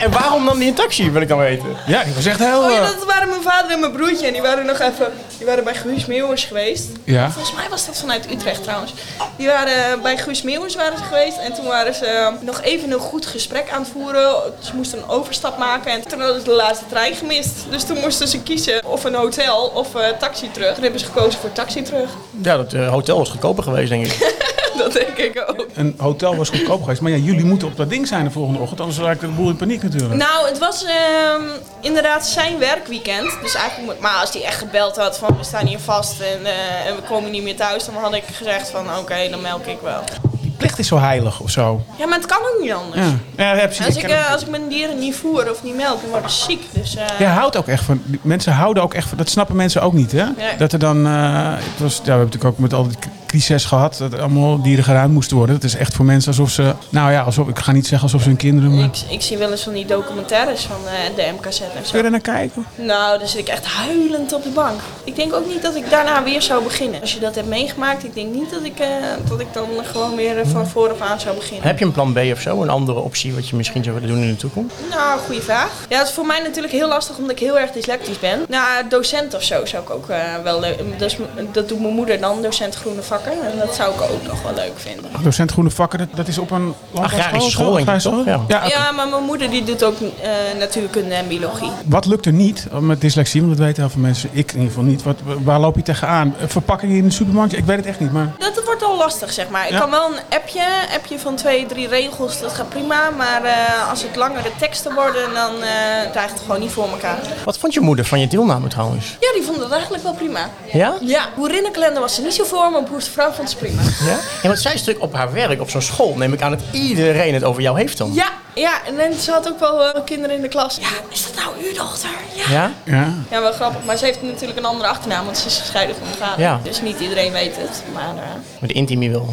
B: En waarom nam die een taxi, wil ik dan weten?
C: Ja, dat was echt heel...
D: Oh ja,
C: eh,
D: dat waren mijn vader en mijn broertje. En die waren nog even. Die waren bij Guus Meeuwers geweest.
C: Ja.
D: Volgens mij was dat vanuit Utrecht trouwens. Die waren eh, bij Guus Meeuwers waren ze geweest. En toen waren ze eh, nog even een goed gesprek aan het voeren. Ze moesten een overstap maken. En toen hadden ze de laatste trein gemist. Dus toen moesten ze kiezen of een hotel of eh, taxi terug. Toen hebben ze gekozen voor taxi terug.
B: Ja, dat eh, hotel was goedkoper geweest, denk ik.
D: dat denk ik ook.
C: Een hotel was goedkoop geweest. Maar ja, jullie moeten op dat ding zijn de volgende ochtend. Anders raakt de boel in paniek natuurlijk.
D: Nou, het was ehm, inderdaad zijn werkweekend. Dus eigenlijk, moet- maar als hij echt gebeld had van we staan hier vast en, eh, en we komen niet meer thuis, dan had ik gezegd van oké, dan melk ik wel.
C: Die plicht is zo heilig of zo.
D: Ja, maar het kan ook niet anders.
C: Ja, ja, ja precies.
D: Als
C: Ik
D: ik,
C: ken het.
D: eh, als ik mijn dieren niet voer of niet melk, dan worden ze ziek. Dus eh,
C: Jij houdt ook echt van. die Mensen houden ook echt van. Dat snappen mensen ook niet, hè?
D: Nee.
C: Dat er dan. eh, het was, ja, we hebben natuurlijk ook met al die k- crises gehad. Dat er allemaal dieren geruimd moesten worden. Dat is echt voor mensen alsof ze. Nou ja, alsof, ik ga niet zeggen alsof ze hun kinderen. Maar,
D: ik, ik zie wel eens van die documentaires van eh, de MKZ en
C: kun
D: zo.
C: je er naar kijken?
D: Nou, dan zit ik echt huilend op de bank. Ik denk ook niet dat ik daarna weer zou beginnen. Als je dat hebt meegemaakt, ik denk niet dat ik, eh, dat ik dan gewoon weer eh, van vooraf aan zou beginnen.
B: Heb je een plan B of zo? Een andere optie wat je misschien zou willen doen in de toekomst?
D: Nou, goede vraag. Ja, het is voor mij natuurlijk heel lastig omdat ik heel erg dyslectisch ben. Nou, docent of zo zou ik ook eh, wel leuk. Dus, m- dat doet mijn moeder dan, docent groene vakken. En dat zou ik ook nog wel leuk vinden.
C: Docent Groene Vakken, dat, dat is op een. landbouwschool,
B: school, denk ik,
C: agrarische
B: toch?
C: school? Ja.
D: Ja, maar mijn moeder die doet ook eh, natuurkunde en biologie.
C: Wat lukt er niet eh, met dyslexie? Want dat weten heel veel mensen. Ik in ieder geval niet. Wat, waar loop je tegenaan? Verpakking in de supermarkt? Ik weet het echt niet. Maar
D: Dat wordt al lastig, zeg maar. Ik
C: Ja.
D: kan wel een appje, appje van twee, drie regels, dat gaat prima. Maar eh, als het langere teksten worden, dan eh krijg je het gewoon niet voor elkaar.
B: Wat vond je moeder van je deelname trouwens?
D: Ja, die vond het eigenlijk wel prima.
B: Ja?
D: Ja, boerinnenkalender was ze niet zo voor, maar boervrouw vond ze prima.
B: Ja? En wat zij is natuurlijk op haar werk, op zo'n school, neem ik aan dat iedereen het over jou heeft dan.
D: Ja, ja, en dan- ze had ook wel eh, kinderen in de klas. Ja, is dat nou uw dochter? Ja.
B: Ja?
C: ja.
D: Ja, wel grappig. Maar ze heeft natuurlijk een andere achternaam, want ze is gescheiden van haar vader.
B: Ja.
D: Dus niet iedereen weet het. Maar, eh,
B: Met de intimie wil.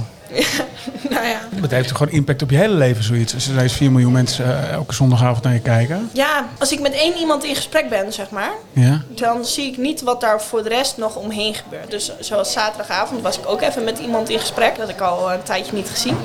D: nou ja.
C: Dat heeft toch gewoon impact op je hele leven, zoiets. Als er ineens 4 miljoen mensen eh, elke zondagavond naar je kijken.
D: Ja, als ik met één iemand in gesprek ben, zeg maar,
C: Ja.
D: dan zie ik niet wat daar voor de rest nog omheen gebeurt. Dus zoals zaterdagavond was ik ook even met iemand in gesprek, dat had ik al een tijdje niet gezien.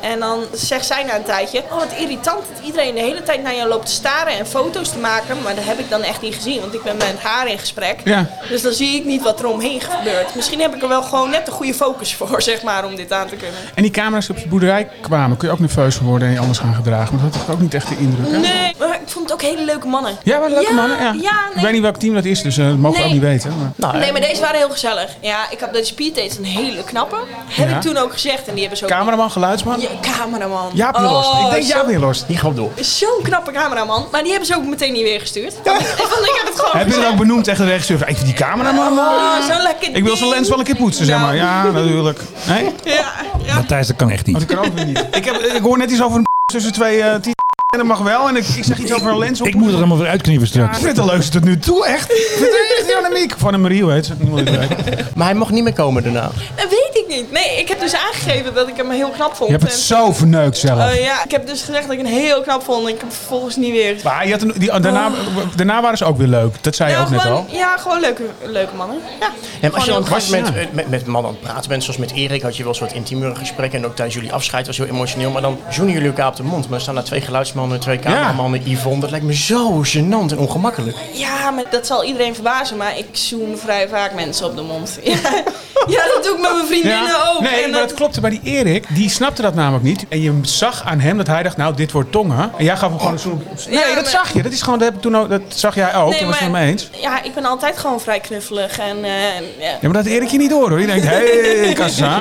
D: En dan zegt zij na een tijdje, oh wat irritant dat iedereen de hele tijd naar jou loopt te staren en foto's te maken. Maar dat heb ik dan echt niet gezien, want ik ben met haar in gesprek.
C: Ja.
D: Dus dan zie ik niet wat er omheen gebeurt. Misschien heb ik er wel gewoon net de goede focus voor, zeg maar, om dit aan te kunnen.
C: En die camera's op de boerderij kwamen. Kun je ook nerveus van worden en je anders gaan gedragen. Maar dat had toch ook niet echt de indruk, hè?
D: Nee, maar ik vond het ook hele leuke mannen.
C: Ja, wel leuke
D: Ja,
C: mannen. Ja.
D: ja, nee.
C: Ik weet niet welk team dat is, dus eh, dat mogen we
D: Nee.
C: ook niet weten. Maar...
B: Nou,
D: Nee, maar deze waren heel gezellig. Ja, ik had bij de speeddates een hele knappe. Heb
C: Ja.
D: ik toen ook gezegd en die hebben zo...
C: Cameraman, geluidsman?
D: Ja, cameraman.
C: Jaap Nierhorst.
D: Oh,
C: ik denk
D: zo-
C: Jaap Nierhorst.
B: eh, die gaat door.
D: Zo'n knappe cameraman. Maar die hebben ze ook meteen niet weer gestuurd. Want ik heb het gewoon
C: Heb je dat
D: gezegd.
C: ook benoemd tegen de regisseur? Ik vind die cameraman... eh,
D: Oh, zo'n lekker
C: ik wil zijn
D: ding.
C: lens wel een keer poetsen, zeg maar.
D: Nou,
C: Ja, natuurlijk. Nee?
D: Ja, ja.
A: Matthijs, dat kan echt
C: Want
A: niet.
C: ik kan ook weer niet. Ik, heb, ik hoor net iets over een tussen twee... eh, tien en dat mag wel. En ik, ik zeg iets over een lens op.
A: Ik moet er allemaal weer uitknippen
C: Ik
A: straks.
C: vind het de leukste tot nu toe, echt. Ik vind het echt Jannemiek. Van de Marie, hoe heet ze? Niemand weet het.
B: Maar hij mocht niet meer komen daarna.
D: Dat weet ik ik niet. Nee, ik heb dus aangegeven dat ik hem heel knap vond.
E: Je hebt het
D: En-
E: zo verneukt zelf.
D: Eh, ja, ik heb dus gezegd dat ik hem heel knap vond en ik heb hem vervolgens niet weer.
C: Maar je had een, die, daarna, daarna waren ze ook weer leuk. Dat zei je
D: Nou,
C: ook net
D: gewoon,
C: al.
D: Oh. ja, gewoon leuke, leuke mannen. Ja.
B: Ja, maar als je dan op een
D: Gewoon
B: gegeven
D: heel
B: moment eh, met, met mannen aan het praten bent, zoals met Erik, had je wel een soort intiemere gesprekken. En ook tijdens jullie afscheid was heel emotioneel. Maar dan zoenen jullie elkaar op de mond. Maar dan staan daar twee geluidsmannen, twee cameramannen, Yvonne. Dat lijkt me zo gênant en ongemakkelijk.
D: Ja, maar dat zal iedereen verbazen, maar ik zoen vrij vaak mensen op de mond. Ja, ja dat doe ik met mijn vriendinnen ook.
C: Nee,
D: En
C: maar
D: dat-
C: dat klopte bij die Erik. Die snapte dat namelijk niet. En je zag aan hem dat hij dacht, nou, dit wordt tongen. En jij gaf hem gewoon een zoen op- op- Nee,
D: Ja,
C: dat
D: maar-
C: zag je. Dat, is gewoon, dat, heb ik toen ook, dat zag jij ook.
D: Nee,
C: dat was het
D: maar-
C: met me eens.
D: Ja, ik ben altijd gewoon vrij knuffelig en eh, en, ja.
C: Ja, maar dat Erik je niet door hoor. Die denkt, hey, kassa.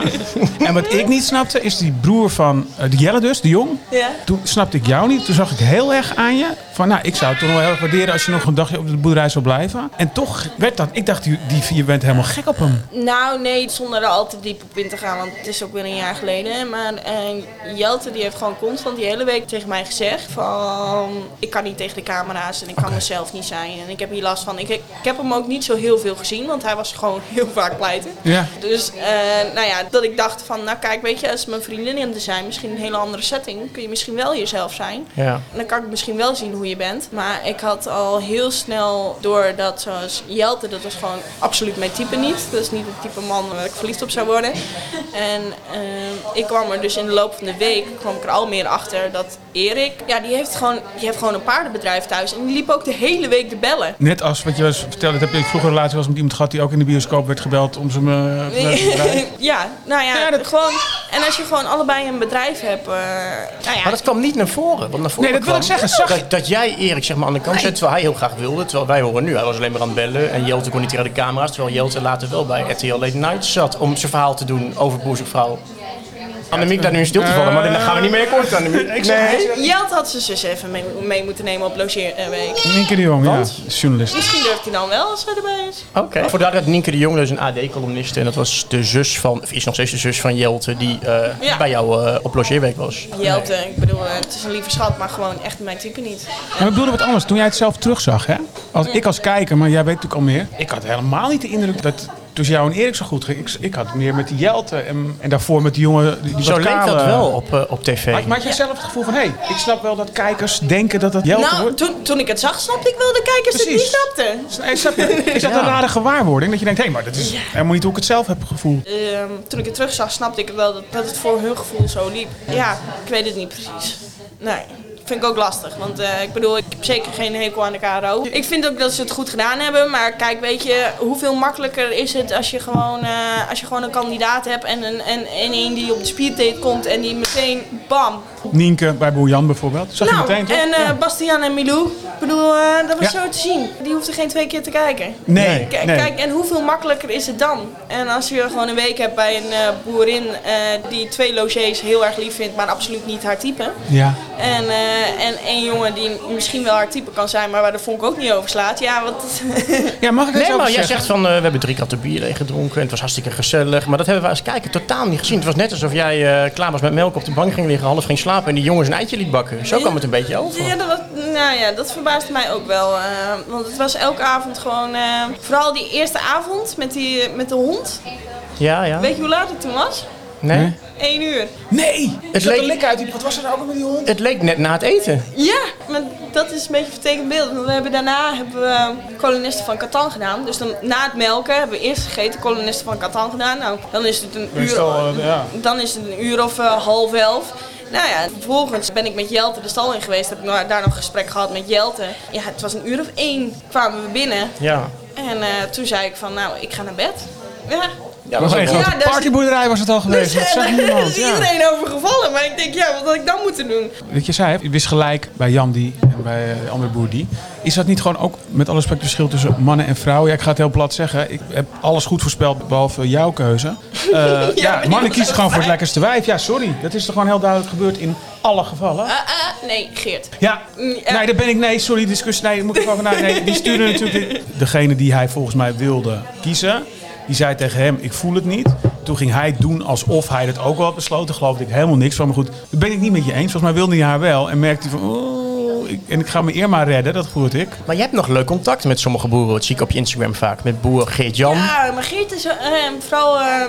C: En wat ik niet snapte, is die broer van eh, de Jelle dus, de jong.
D: Ja.
C: Toen snapte ik jou niet. Toen zag ik heel erg aan je. Van, nou, ik zou het toch wel heel erg waarderen als je nog een dagje op de boerderij zou blijven. En toch werd dat. Ik dacht, die, die, je bent helemaal gek op hem.
D: Nou nee, zonder er al te diep op in te gaan, want het is ook weer een jaar geleden. Maar eh, Jelte die heeft gewoon constant die hele week tegen mij gezegd van... Ik kan niet tegen de camera's en ik kan mezelf niet zijn en ik heb hier last van. Ik, ik heb hem ook niet zo heel veel gezien, want hij was gewoon heel vaak pleiten.
C: Ja.
D: Dus eh, nou ja, dat ik dacht van, nou kijk, weet je, als mijn vriendinnen er zijn, misschien een hele andere setting, kun je misschien wel jezelf zijn.
B: Ja.
D: En dan kan ik misschien wel zien hoe je bent. Maar ik had al heel snel door dat zoals Jelte, dat was gewoon absoluut mijn type niet. Dat is niet het type man waar ik verliefd op zou worden. En ehm, ik kwam er dus in de loop van de week kwam ik er al meer achter dat Erik, ja, die heeft gewoon, die heeft gewoon een paardenbedrijf thuis. En die liep ook de hele week te bellen.
C: Net als wat je was vertelde, dat heb ik vroeger een relatie was met iemand gehad die ook in de bioscoop werd gebeld om zijn. eh, bedrijf.
D: ja, nou ja,
C: Ja, dat-
D: gewoon. En als je gewoon allebei een bedrijf hebt, eh, nou ja,
B: Maar dat kwam niet naar voren. Wat naar voren
C: Nee, dat wil
B: kwam,
C: ik zeggen, zag je-
B: dat, dat jij Erik zeg maar, aan de kant zet, terwijl hij heel graag wilde. Terwijl wij horen nu, hij was alleen maar aan het bellen. En Jelte kon niet tegen de camera's. Terwijl Jelte later wel bij RTL Late Night zat om zijn verhaal te doen over Boer Zoekt Vrouw. Annemiek daar nu in stil te
C: Eh,
B: vallen, maar daar gaan we niet meer kort, Annemiek. Nee.
D: Jelt had zijn zus even mee, mee moeten nemen op logeerweek.
C: Nienke de Jong, ja. Journalist.
D: Misschien durft hij dan wel als hij erbij is.
B: Oké. Voordat dat Nienke de Jong, dat is een AD-columniste. En dat was de zus van, of is nog steeds de zus van Jelte, die eh,
D: Ja.
B: bij jou eh, op logeerweek was.
D: Jelte, ik bedoel, eh, het is een lieve schat, maar gewoon echt mijn type niet.
C: Maar ik bedoelde wat anders. Toen jij het zelf terugzag, hè? Als, ik als kijker, maar jij weet natuurlijk al meer. Ik had helemaal niet de indruk dat tussen jou en Erik zo goed ging. Ik, ik had meer met die Jelte en, en daarvoor met die jongen. Die, die
B: Zo
C: wat
B: leek dat
C: kale-
B: wel op, eh, op tv.
C: Maak, maak jij zelf het gevoel van, hé, hey, ik snap wel dat kijkers denken dat dat Jelte
D: Nou,
C: wordt.
D: toen, toen ik het zag, snapte ik wel de kijkers het niet
C: Precies.
D: snapten.
C: Is- Is dat, is dat een rare gewaarwording? Dat je denkt, hé, maar dat is helemaal niet hoe ik het zelf heb gevoeld.
D: Ehm, toen ik het terugzag, snapte ik wel dat, dat het voor hun gevoel zo liep. Ja, ik weet het niet precies. Nee. Vind ik ook lastig, want eh, ik bedoel, ik heb zeker geen hekel aan de KRO. Ik vind ook dat ze het goed gedaan hebben, maar kijk, weet je, hoeveel makkelijker is het als je gewoon, eh, als je gewoon een kandidaat hebt en een, en, en een die op de speeddate komt en die meteen, bam,
C: Nienke bij Boerjan bijvoorbeeld. Zag je
D: Nou,
C: meteen, toch?
D: en eh,
C: Ja.
D: Bastiaan en Milou. Ik bedoel, eh, dat was
C: Ja.
D: zo te zien. Die hoefden geen twee keer te kijken.
C: Nee,
D: Kijk,
C: nee.
D: kijk, en hoeveel makkelijker is het dan? En als je gewoon een week hebt bij een eh, boerin eh, die twee logés heel erg lief vindt, maar absoluut niet haar type.
C: Ja.
D: En, eh, en één jongen die misschien wel haar type kan zijn, maar waar de vonk ook niet over slaat. Ja, wat...
C: ja, mag ik er iets
B: Nee, maar
C: over
B: jij
C: zeggen?
B: zegt van, eh, we hebben drie katten bier gedronken en het was hartstikke gezellig. Maar dat hebben we als kijker totaal niet gezien. Het was net alsof jij eh, klaar was met melk op de bank ging liggen, half ging slapen en die jongens een eitje liet bakken. Zo kwam het een beetje over.
D: Ja, dat, was, nou ja, dat verbaast mij ook wel. eh, want het was elke avond gewoon... eh, vooral die eerste avond met, die, met de hond.
B: Ja, ja.
D: Weet je hoe laat het toen was?
B: Nee?
D: Eén uur.
C: Nee!
B: Het
C: Het leek...
B: leek-
C: er lik uit. die- Wat was er nou ook met die hond?
B: Het leek net na het eten.
D: Ja, maar dat is een beetje een vertekend beeld. Want we hebben daarna hebben we ehm, kolonisten van Catan gedaan. Dus dan, na het melken hebben we eerst gegeten kolonisten van Catan gedaan. Nou, dan is het een uur,
C: Meestal, eh, ja.
D: dan is het een uur of eh, half elf. Nou ja, vervolgens ben ik met Jelte de stal in geweest. Heb ik nou- daar nog een gesprek gehad met Jelte. Ja, het was een uur of één kwamen we binnen.
B: Ja.
D: En eh, toen zei ik van, nou, ik ga naar bed. Ja.
B: Ja,
C: was een
B: ook wel-
C: grote
D: Ja, dus-
C: partyboerderij was het al geweest.
D: Dus
C: Dat
D: eh,
C: zag
D: daar
C: niemand.
D: is
C: ja.
D: iedereen over gevallen. Maar ik denk, ja, wat had ik dan moeten doen?
C: Wat je zei, hè, je wist gelijk bij Jan die en bij eh, andere boer die. Is dat niet gewoon ook met alle respect het verschil tussen mannen en vrouwen? Ja, ik ga het heel plat zeggen. Ik heb alles goed voorspeld behalve jouw keuze. Eh, ja,
D: maar
C: mannen
D: die
C: kiezen gewoon voor het lekkerste wijf. Ja, sorry. Dat is toch gewoon heel duidelijk gebeurd in alle gevallen.
D: Ah, ah, nee, Geert.
C: Ja, nee,
D: ja.
C: daar ben ik. Nee, sorry, discussie. Nee, moet ik ook naar. Nee, die stuurde natuurlijk. Degene die hij volgens mij wilde kiezen, die zei tegen hem: Ik voel het niet. Toen ging hij doen alsof hij dat ook wel had besloten. Geloofde ik helemaal niks van. Maar goed, daar ben ik niet met je eens. Volgens mij wilde hij haar wel. En merkte hij van: Oeh, ik, en ik ga mijn eer maar redden. Dat voelde ik.
B: Maar je hebt nog leuk contact met sommige boeren. Dat zie ik op je Instagram vaak. Met boer Geert-Jan.
D: Ja, maar Geert is eh, eh, vooral... eh,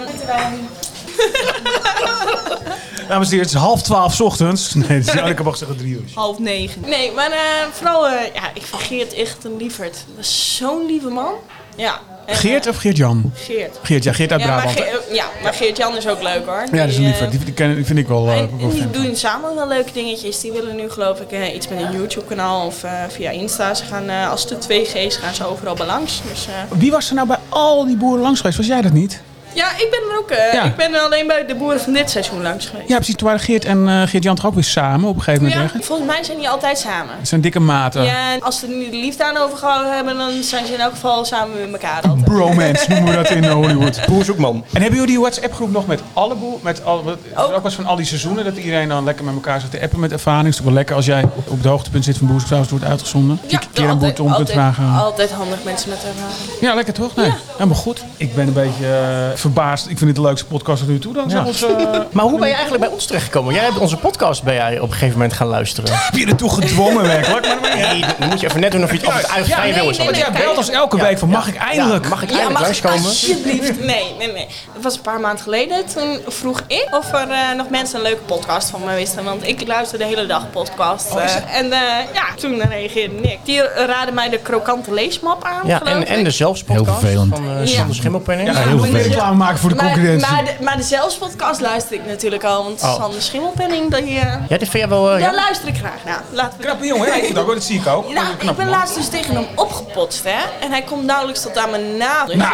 C: Dames en heren, het is half twaalf 's ochtends. Nee, dus, ik mag zeggen drie uur.
D: Half negen. Nee, maar eh, vooral, eh, ja, ik vind Geert echt een lieverd. Dat is zo'n lieve man. Ja. En,
C: Geert
D: eh,
C: of Geert-Jan?
D: Geert.
C: Geert, ja, Geert uit
D: Ja maar,
C: Brabant.
D: Ge- eh, ja, maar Geert-Jan is ook leuk hoor.
C: ja, dat is een
D: Die,
C: liefde.
D: eh,
C: Die, die, ken- die vind ik wel... eh,
D: En,
C: ook
D: en
C: wel
D: die
C: fan.
D: doen samen wel leuke dingetjes. Die willen nu geloof ik eh, iets met een YouTube kanaal of eh, via Insta. Ze gaan eh, als de 2G's gaan ze overal bij langs. Dus, eh,
C: Wie was er nou bij al die boeren langs geweest? Was jij dat niet?
D: ja, ik ben er ook. eh,
C: Ja.
D: Ik ben alleen bij de boeren van dit seizoen langs geweest.
C: Ja, precies. Toen waren Geert en eh, Geert-Jan toch ook weer samen op een gegeven moment
D: Ja,
C: ergens?
D: volgens mij zijn die altijd samen.
C: Het zijn dikke maten.
D: Ja, en als ze er nu de liefde aan overgehouden hebben, dan zijn ze in elk geval samen met elkaar altijd.
C: Bromance noemen we dat in Hollywood.
B: Boer Zoekman.
C: En hebben jullie die WhatsApp-groep nog met alle boer, met al, wat,
D: Ook.
C: ook was van al die seizoenen, dat iedereen dan lekker met elkaar zit te appen met ervaring. Het is toch wel lekker als jij op het hoogtepunt zit van boerskruis wordt uitgezonden. Dat je een keer aan boer om kunt
D: altijd,
C: vragen.
D: altijd handig mensen met ervaring.
C: Ja, lekker toch? Nee, helemaal goed. Ik ben een beetje eh, verbaasd. Ik vind dit de leukste podcast tot nu toe dan. Zeg ons, eh,
B: Maar hoe ben je eigenlijk bij ons terechtgekomen? Jij hebt onze podcast ben jij op een gegeven moment gaan luisteren.
C: heb je ertoe gedwongen werkelijk? Maar,
B: Nee, dan moet je even net doen of je het altijd uit
C: Ja,
B: vrij
D: nee,
B: wil is.
D: nee,
C: want
D: nee.
C: jij belt ons elke
B: Ja,
C: week van
B: ja.
C: mag ik eindelijk?
B: Ja, mag ik
D: Ja,
B: eindelijk
D: mag ik
B: langskomen?
D: alsjeblieft? Nee, nee, nee. Dat was een paar maanden geleden. Toen vroeg ik of er eh, nog mensen een leuke podcast van me wisten. Want ik luister de hele dag podcast.
B: Oh,
D: eh, en eh, ja, toen reageerde Nick. Die raadde mij de krokante leesmap aan,
B: Ja,
D: geloof
B: en, en
D: ik.
B: de zelfspodcast
A: Heel vervelend.
B: van eh Sander Schimmelpenning.
C: Ja,
B: Ja.
C: moet
A: heel
C: je
A: veel.
C: reclame maken voor de
D: Maar,
C: concurrentie.
D: maar, de, maar de zelfspodcast luister ik natuurlijk al. Want
B: Oh.
D: Sander Schimmelpenning, die, eh,
B: dit vind jij wel... eh,
D: daar
B: ja?
D: luister ik graag naar. Laten we
C: Knappe jongen, hè? Ik vind dat ook, dat zie ik ook.
D: Nou,
C: Knappe
D: ik ben
C: man.
D: laatst dus tegen hem opgepotst, hè. En hij komt nauwelijks tot aan mijn naam. Dus ja,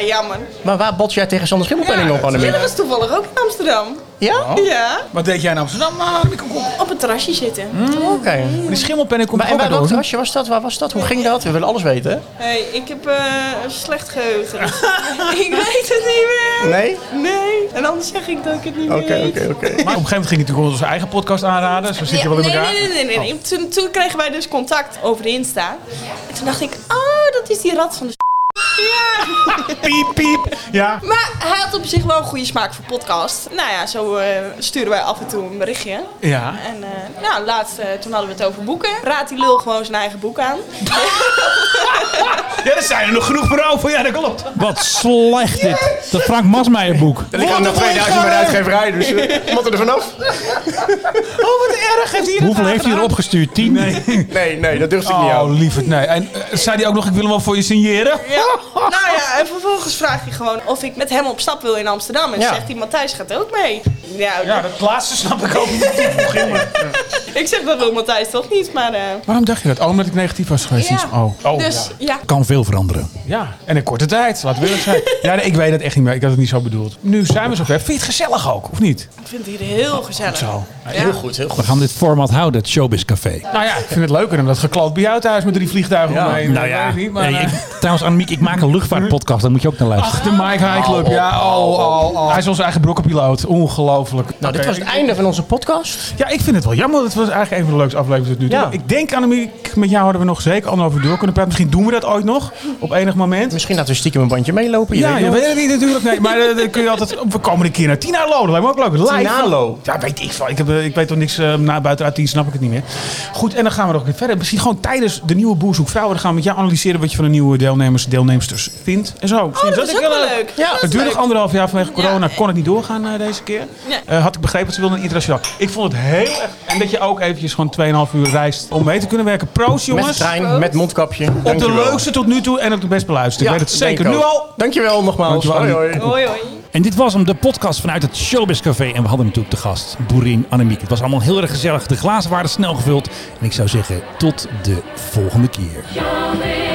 D: ja, jammer.
B: Maar waar bots jij tegen Sander Schimmelpenning
C: Ja,
B: op aan de
D: Ja, dat
B: middag? Oh.
D: was toevallig ook in Amsterdam.
B: Ja?
D: Ja,
C: Wat deed jij in Amsterdam? Ah, Maar ik kom op.
D: op een terrasje zitten.
B: Oké.
C: Die schimmelpennen komt
B: Maar en
C: ook
B: bij
C: uit
B: welk
C: Oorschot.
B: terrasje was dat? Waar was dat? Hoe ging dat? We willen alles weten.
D: Hey, ik heb eh, een slecht geheugen. dus ik weet het niet meer.
B: Nee?
D: Nee. En anders zeg ik dat ik het niet meer weet.
B: oké.
C: Maar op een gegeven moment ging hij natuurlijk onze eigen podcast aanraden. Zo zit je wel in
D: nee,
C: elkaar.
D: nee, nee, nee, nee. Toen, toen kregen wij dus contact over de Insta. En toen dacht ik, oh, dat is die rat van de Ja.
C: Piep, piep. Ja.
D: Maar hij had op zich wel een goede smaak voor podcast. Nou ja, zo eh, sturen wij af en toe een berichtje.
C: Ja.
D: En eh, nou, laatst, eh, toen hadden we het over boeken. Raad die lul gewoon zijn eigen boek aan.
C: Ja, er zijn er nog genoeg voor over. Ja, dat klopt.
A: Wat slecht dit. Dat Frank Masmeijer boek.
B: Er liggen er nog 2000 bij de uitgeverij, dus eh, wat er vanaf?
C: Oh, wat erg. Heeft hij
A: Hoeveel heeft hij erop gestuurd? Tien?
B: Nee, nee, dat durfde ik niet
C: Oh,
B: aan.
C: lieverd. Nee. En eh, zei hij ook nog, ik wil hem wel voor je signeren?
D: Ja. nou ja, en vervolgens vraag je gewoon of ik met hem op stap wil in Amsterdam. En
B: Ja.
D: zegt hij, Matthijs gaat ook mee. Nou,
C: Ja, dat laatste snap ik ook niet. Toevoeging, maar-
D: ik zeg dat wil Matthijs toch niet, maar... eh,
C: Waarom dacht je dat? Oh, omdat ik negatief was geweest. sinds-
D: ja.
C: Oh. oh
D: dus
C: ja.
D: ja.
A: Kan veel veranderen.
C: ja. En in korte tijd. Laten we eerlijk zijn. Ja, nee, ik weet het echt niet meer. Ik had het niet zo bedoeld. Nu zijn we zo ver. Vind je het gezellig ook, of niet?
D: ik vind het hier heel gezellig.
C: Zo.
B: Heel goed, heel goed.
A: We gaan dit format houden, het Showbiz Café.
C: Nou ja, ik vind het leuker dan dat gekloot bij jou thuis met drie vliegtuigen omheen.
A: Nou ja,
C: Weet ik niet, maar,
A: nee,
C: eh,
A: ik, trouwens Annemiek, ik maak een luchtvaartpodcast, daar moet je ook naar luisteren.
C: Ach, de Mike High Club. Ja, oh, oh, oh. Hij is onze eigen brokkenpiloot. Ongelooflijk.
B: Nou, dit
C: Oké.
B: was het einde van onze podcast.
C: Ja, ik vind het wel jammer. Het was eigenlijk een van de leukste afleveringen tot nu toe.
B: Ja.
C: Ik denk, Annemiek, met jou hadden we nog zeker anderhalf uur door kunnen praten. Misschien doen we dat ooit nog, op enig moment.
B: Misschien laten we stiekem een bandje meelopen. Je
C: ja,
B: weet
C: je
B: nog.
C: weet het niet natuurlijk. Nee, maar eh, dan kun je altijd... We komen een keer naar Tina Lo. Dat lijkt me ook leuk. Live.
B: Tina Lo.
C: Ja, weet ik wel. Ik, heb, eh, ik weet toch niks. eh, na, buiten uit tien snap ik het niet meer. Goed, en dan gaan we nog een keer verder. Misschien gewoon tijdens de nieuwe Boerzoek Vrouwen. Dan gaan we met jou analyseren wat je van de nieuwe deelnemers deelnemsters vindt. En zo.
D: Oh, dat is ook wel leuk.
B: Ja,
D: Dat is
C: Het duurde
D: leuk.
C: nog anderhalf jaar vanwege corona.
D: Ja.
C: Kon het niet doorgaan eh, deze keer.
D: Nee.
C: Eh, had ik begrepen dat ze wilden een internationaal. Ik vond het heel erg... En dat je ook eventjes gewoon 2,5 uur reist om mee te kunnen werken. Proost,
B: Met de
C: jongens.
B: trein, met mondkapje.
C: Op de leukste tot nu toe en op de best beluisterd. ik weet het zeker. Nu al.
B: Dankjewel nogmaals.
C: Dankjewel,
B: Hoi,
C: Annie.
B: hoi.
D: Hoi, hoi.
A: En dit was hem, de podcast vanuit het Showbiz Café. En we hadden natuurlijk de gast, Boerin Annemiek. Het was allemaal heel erg gezellig. De glazen waren snel gevuld. En ik zou zeggen, tot de volgende keer.
E: Showbiz.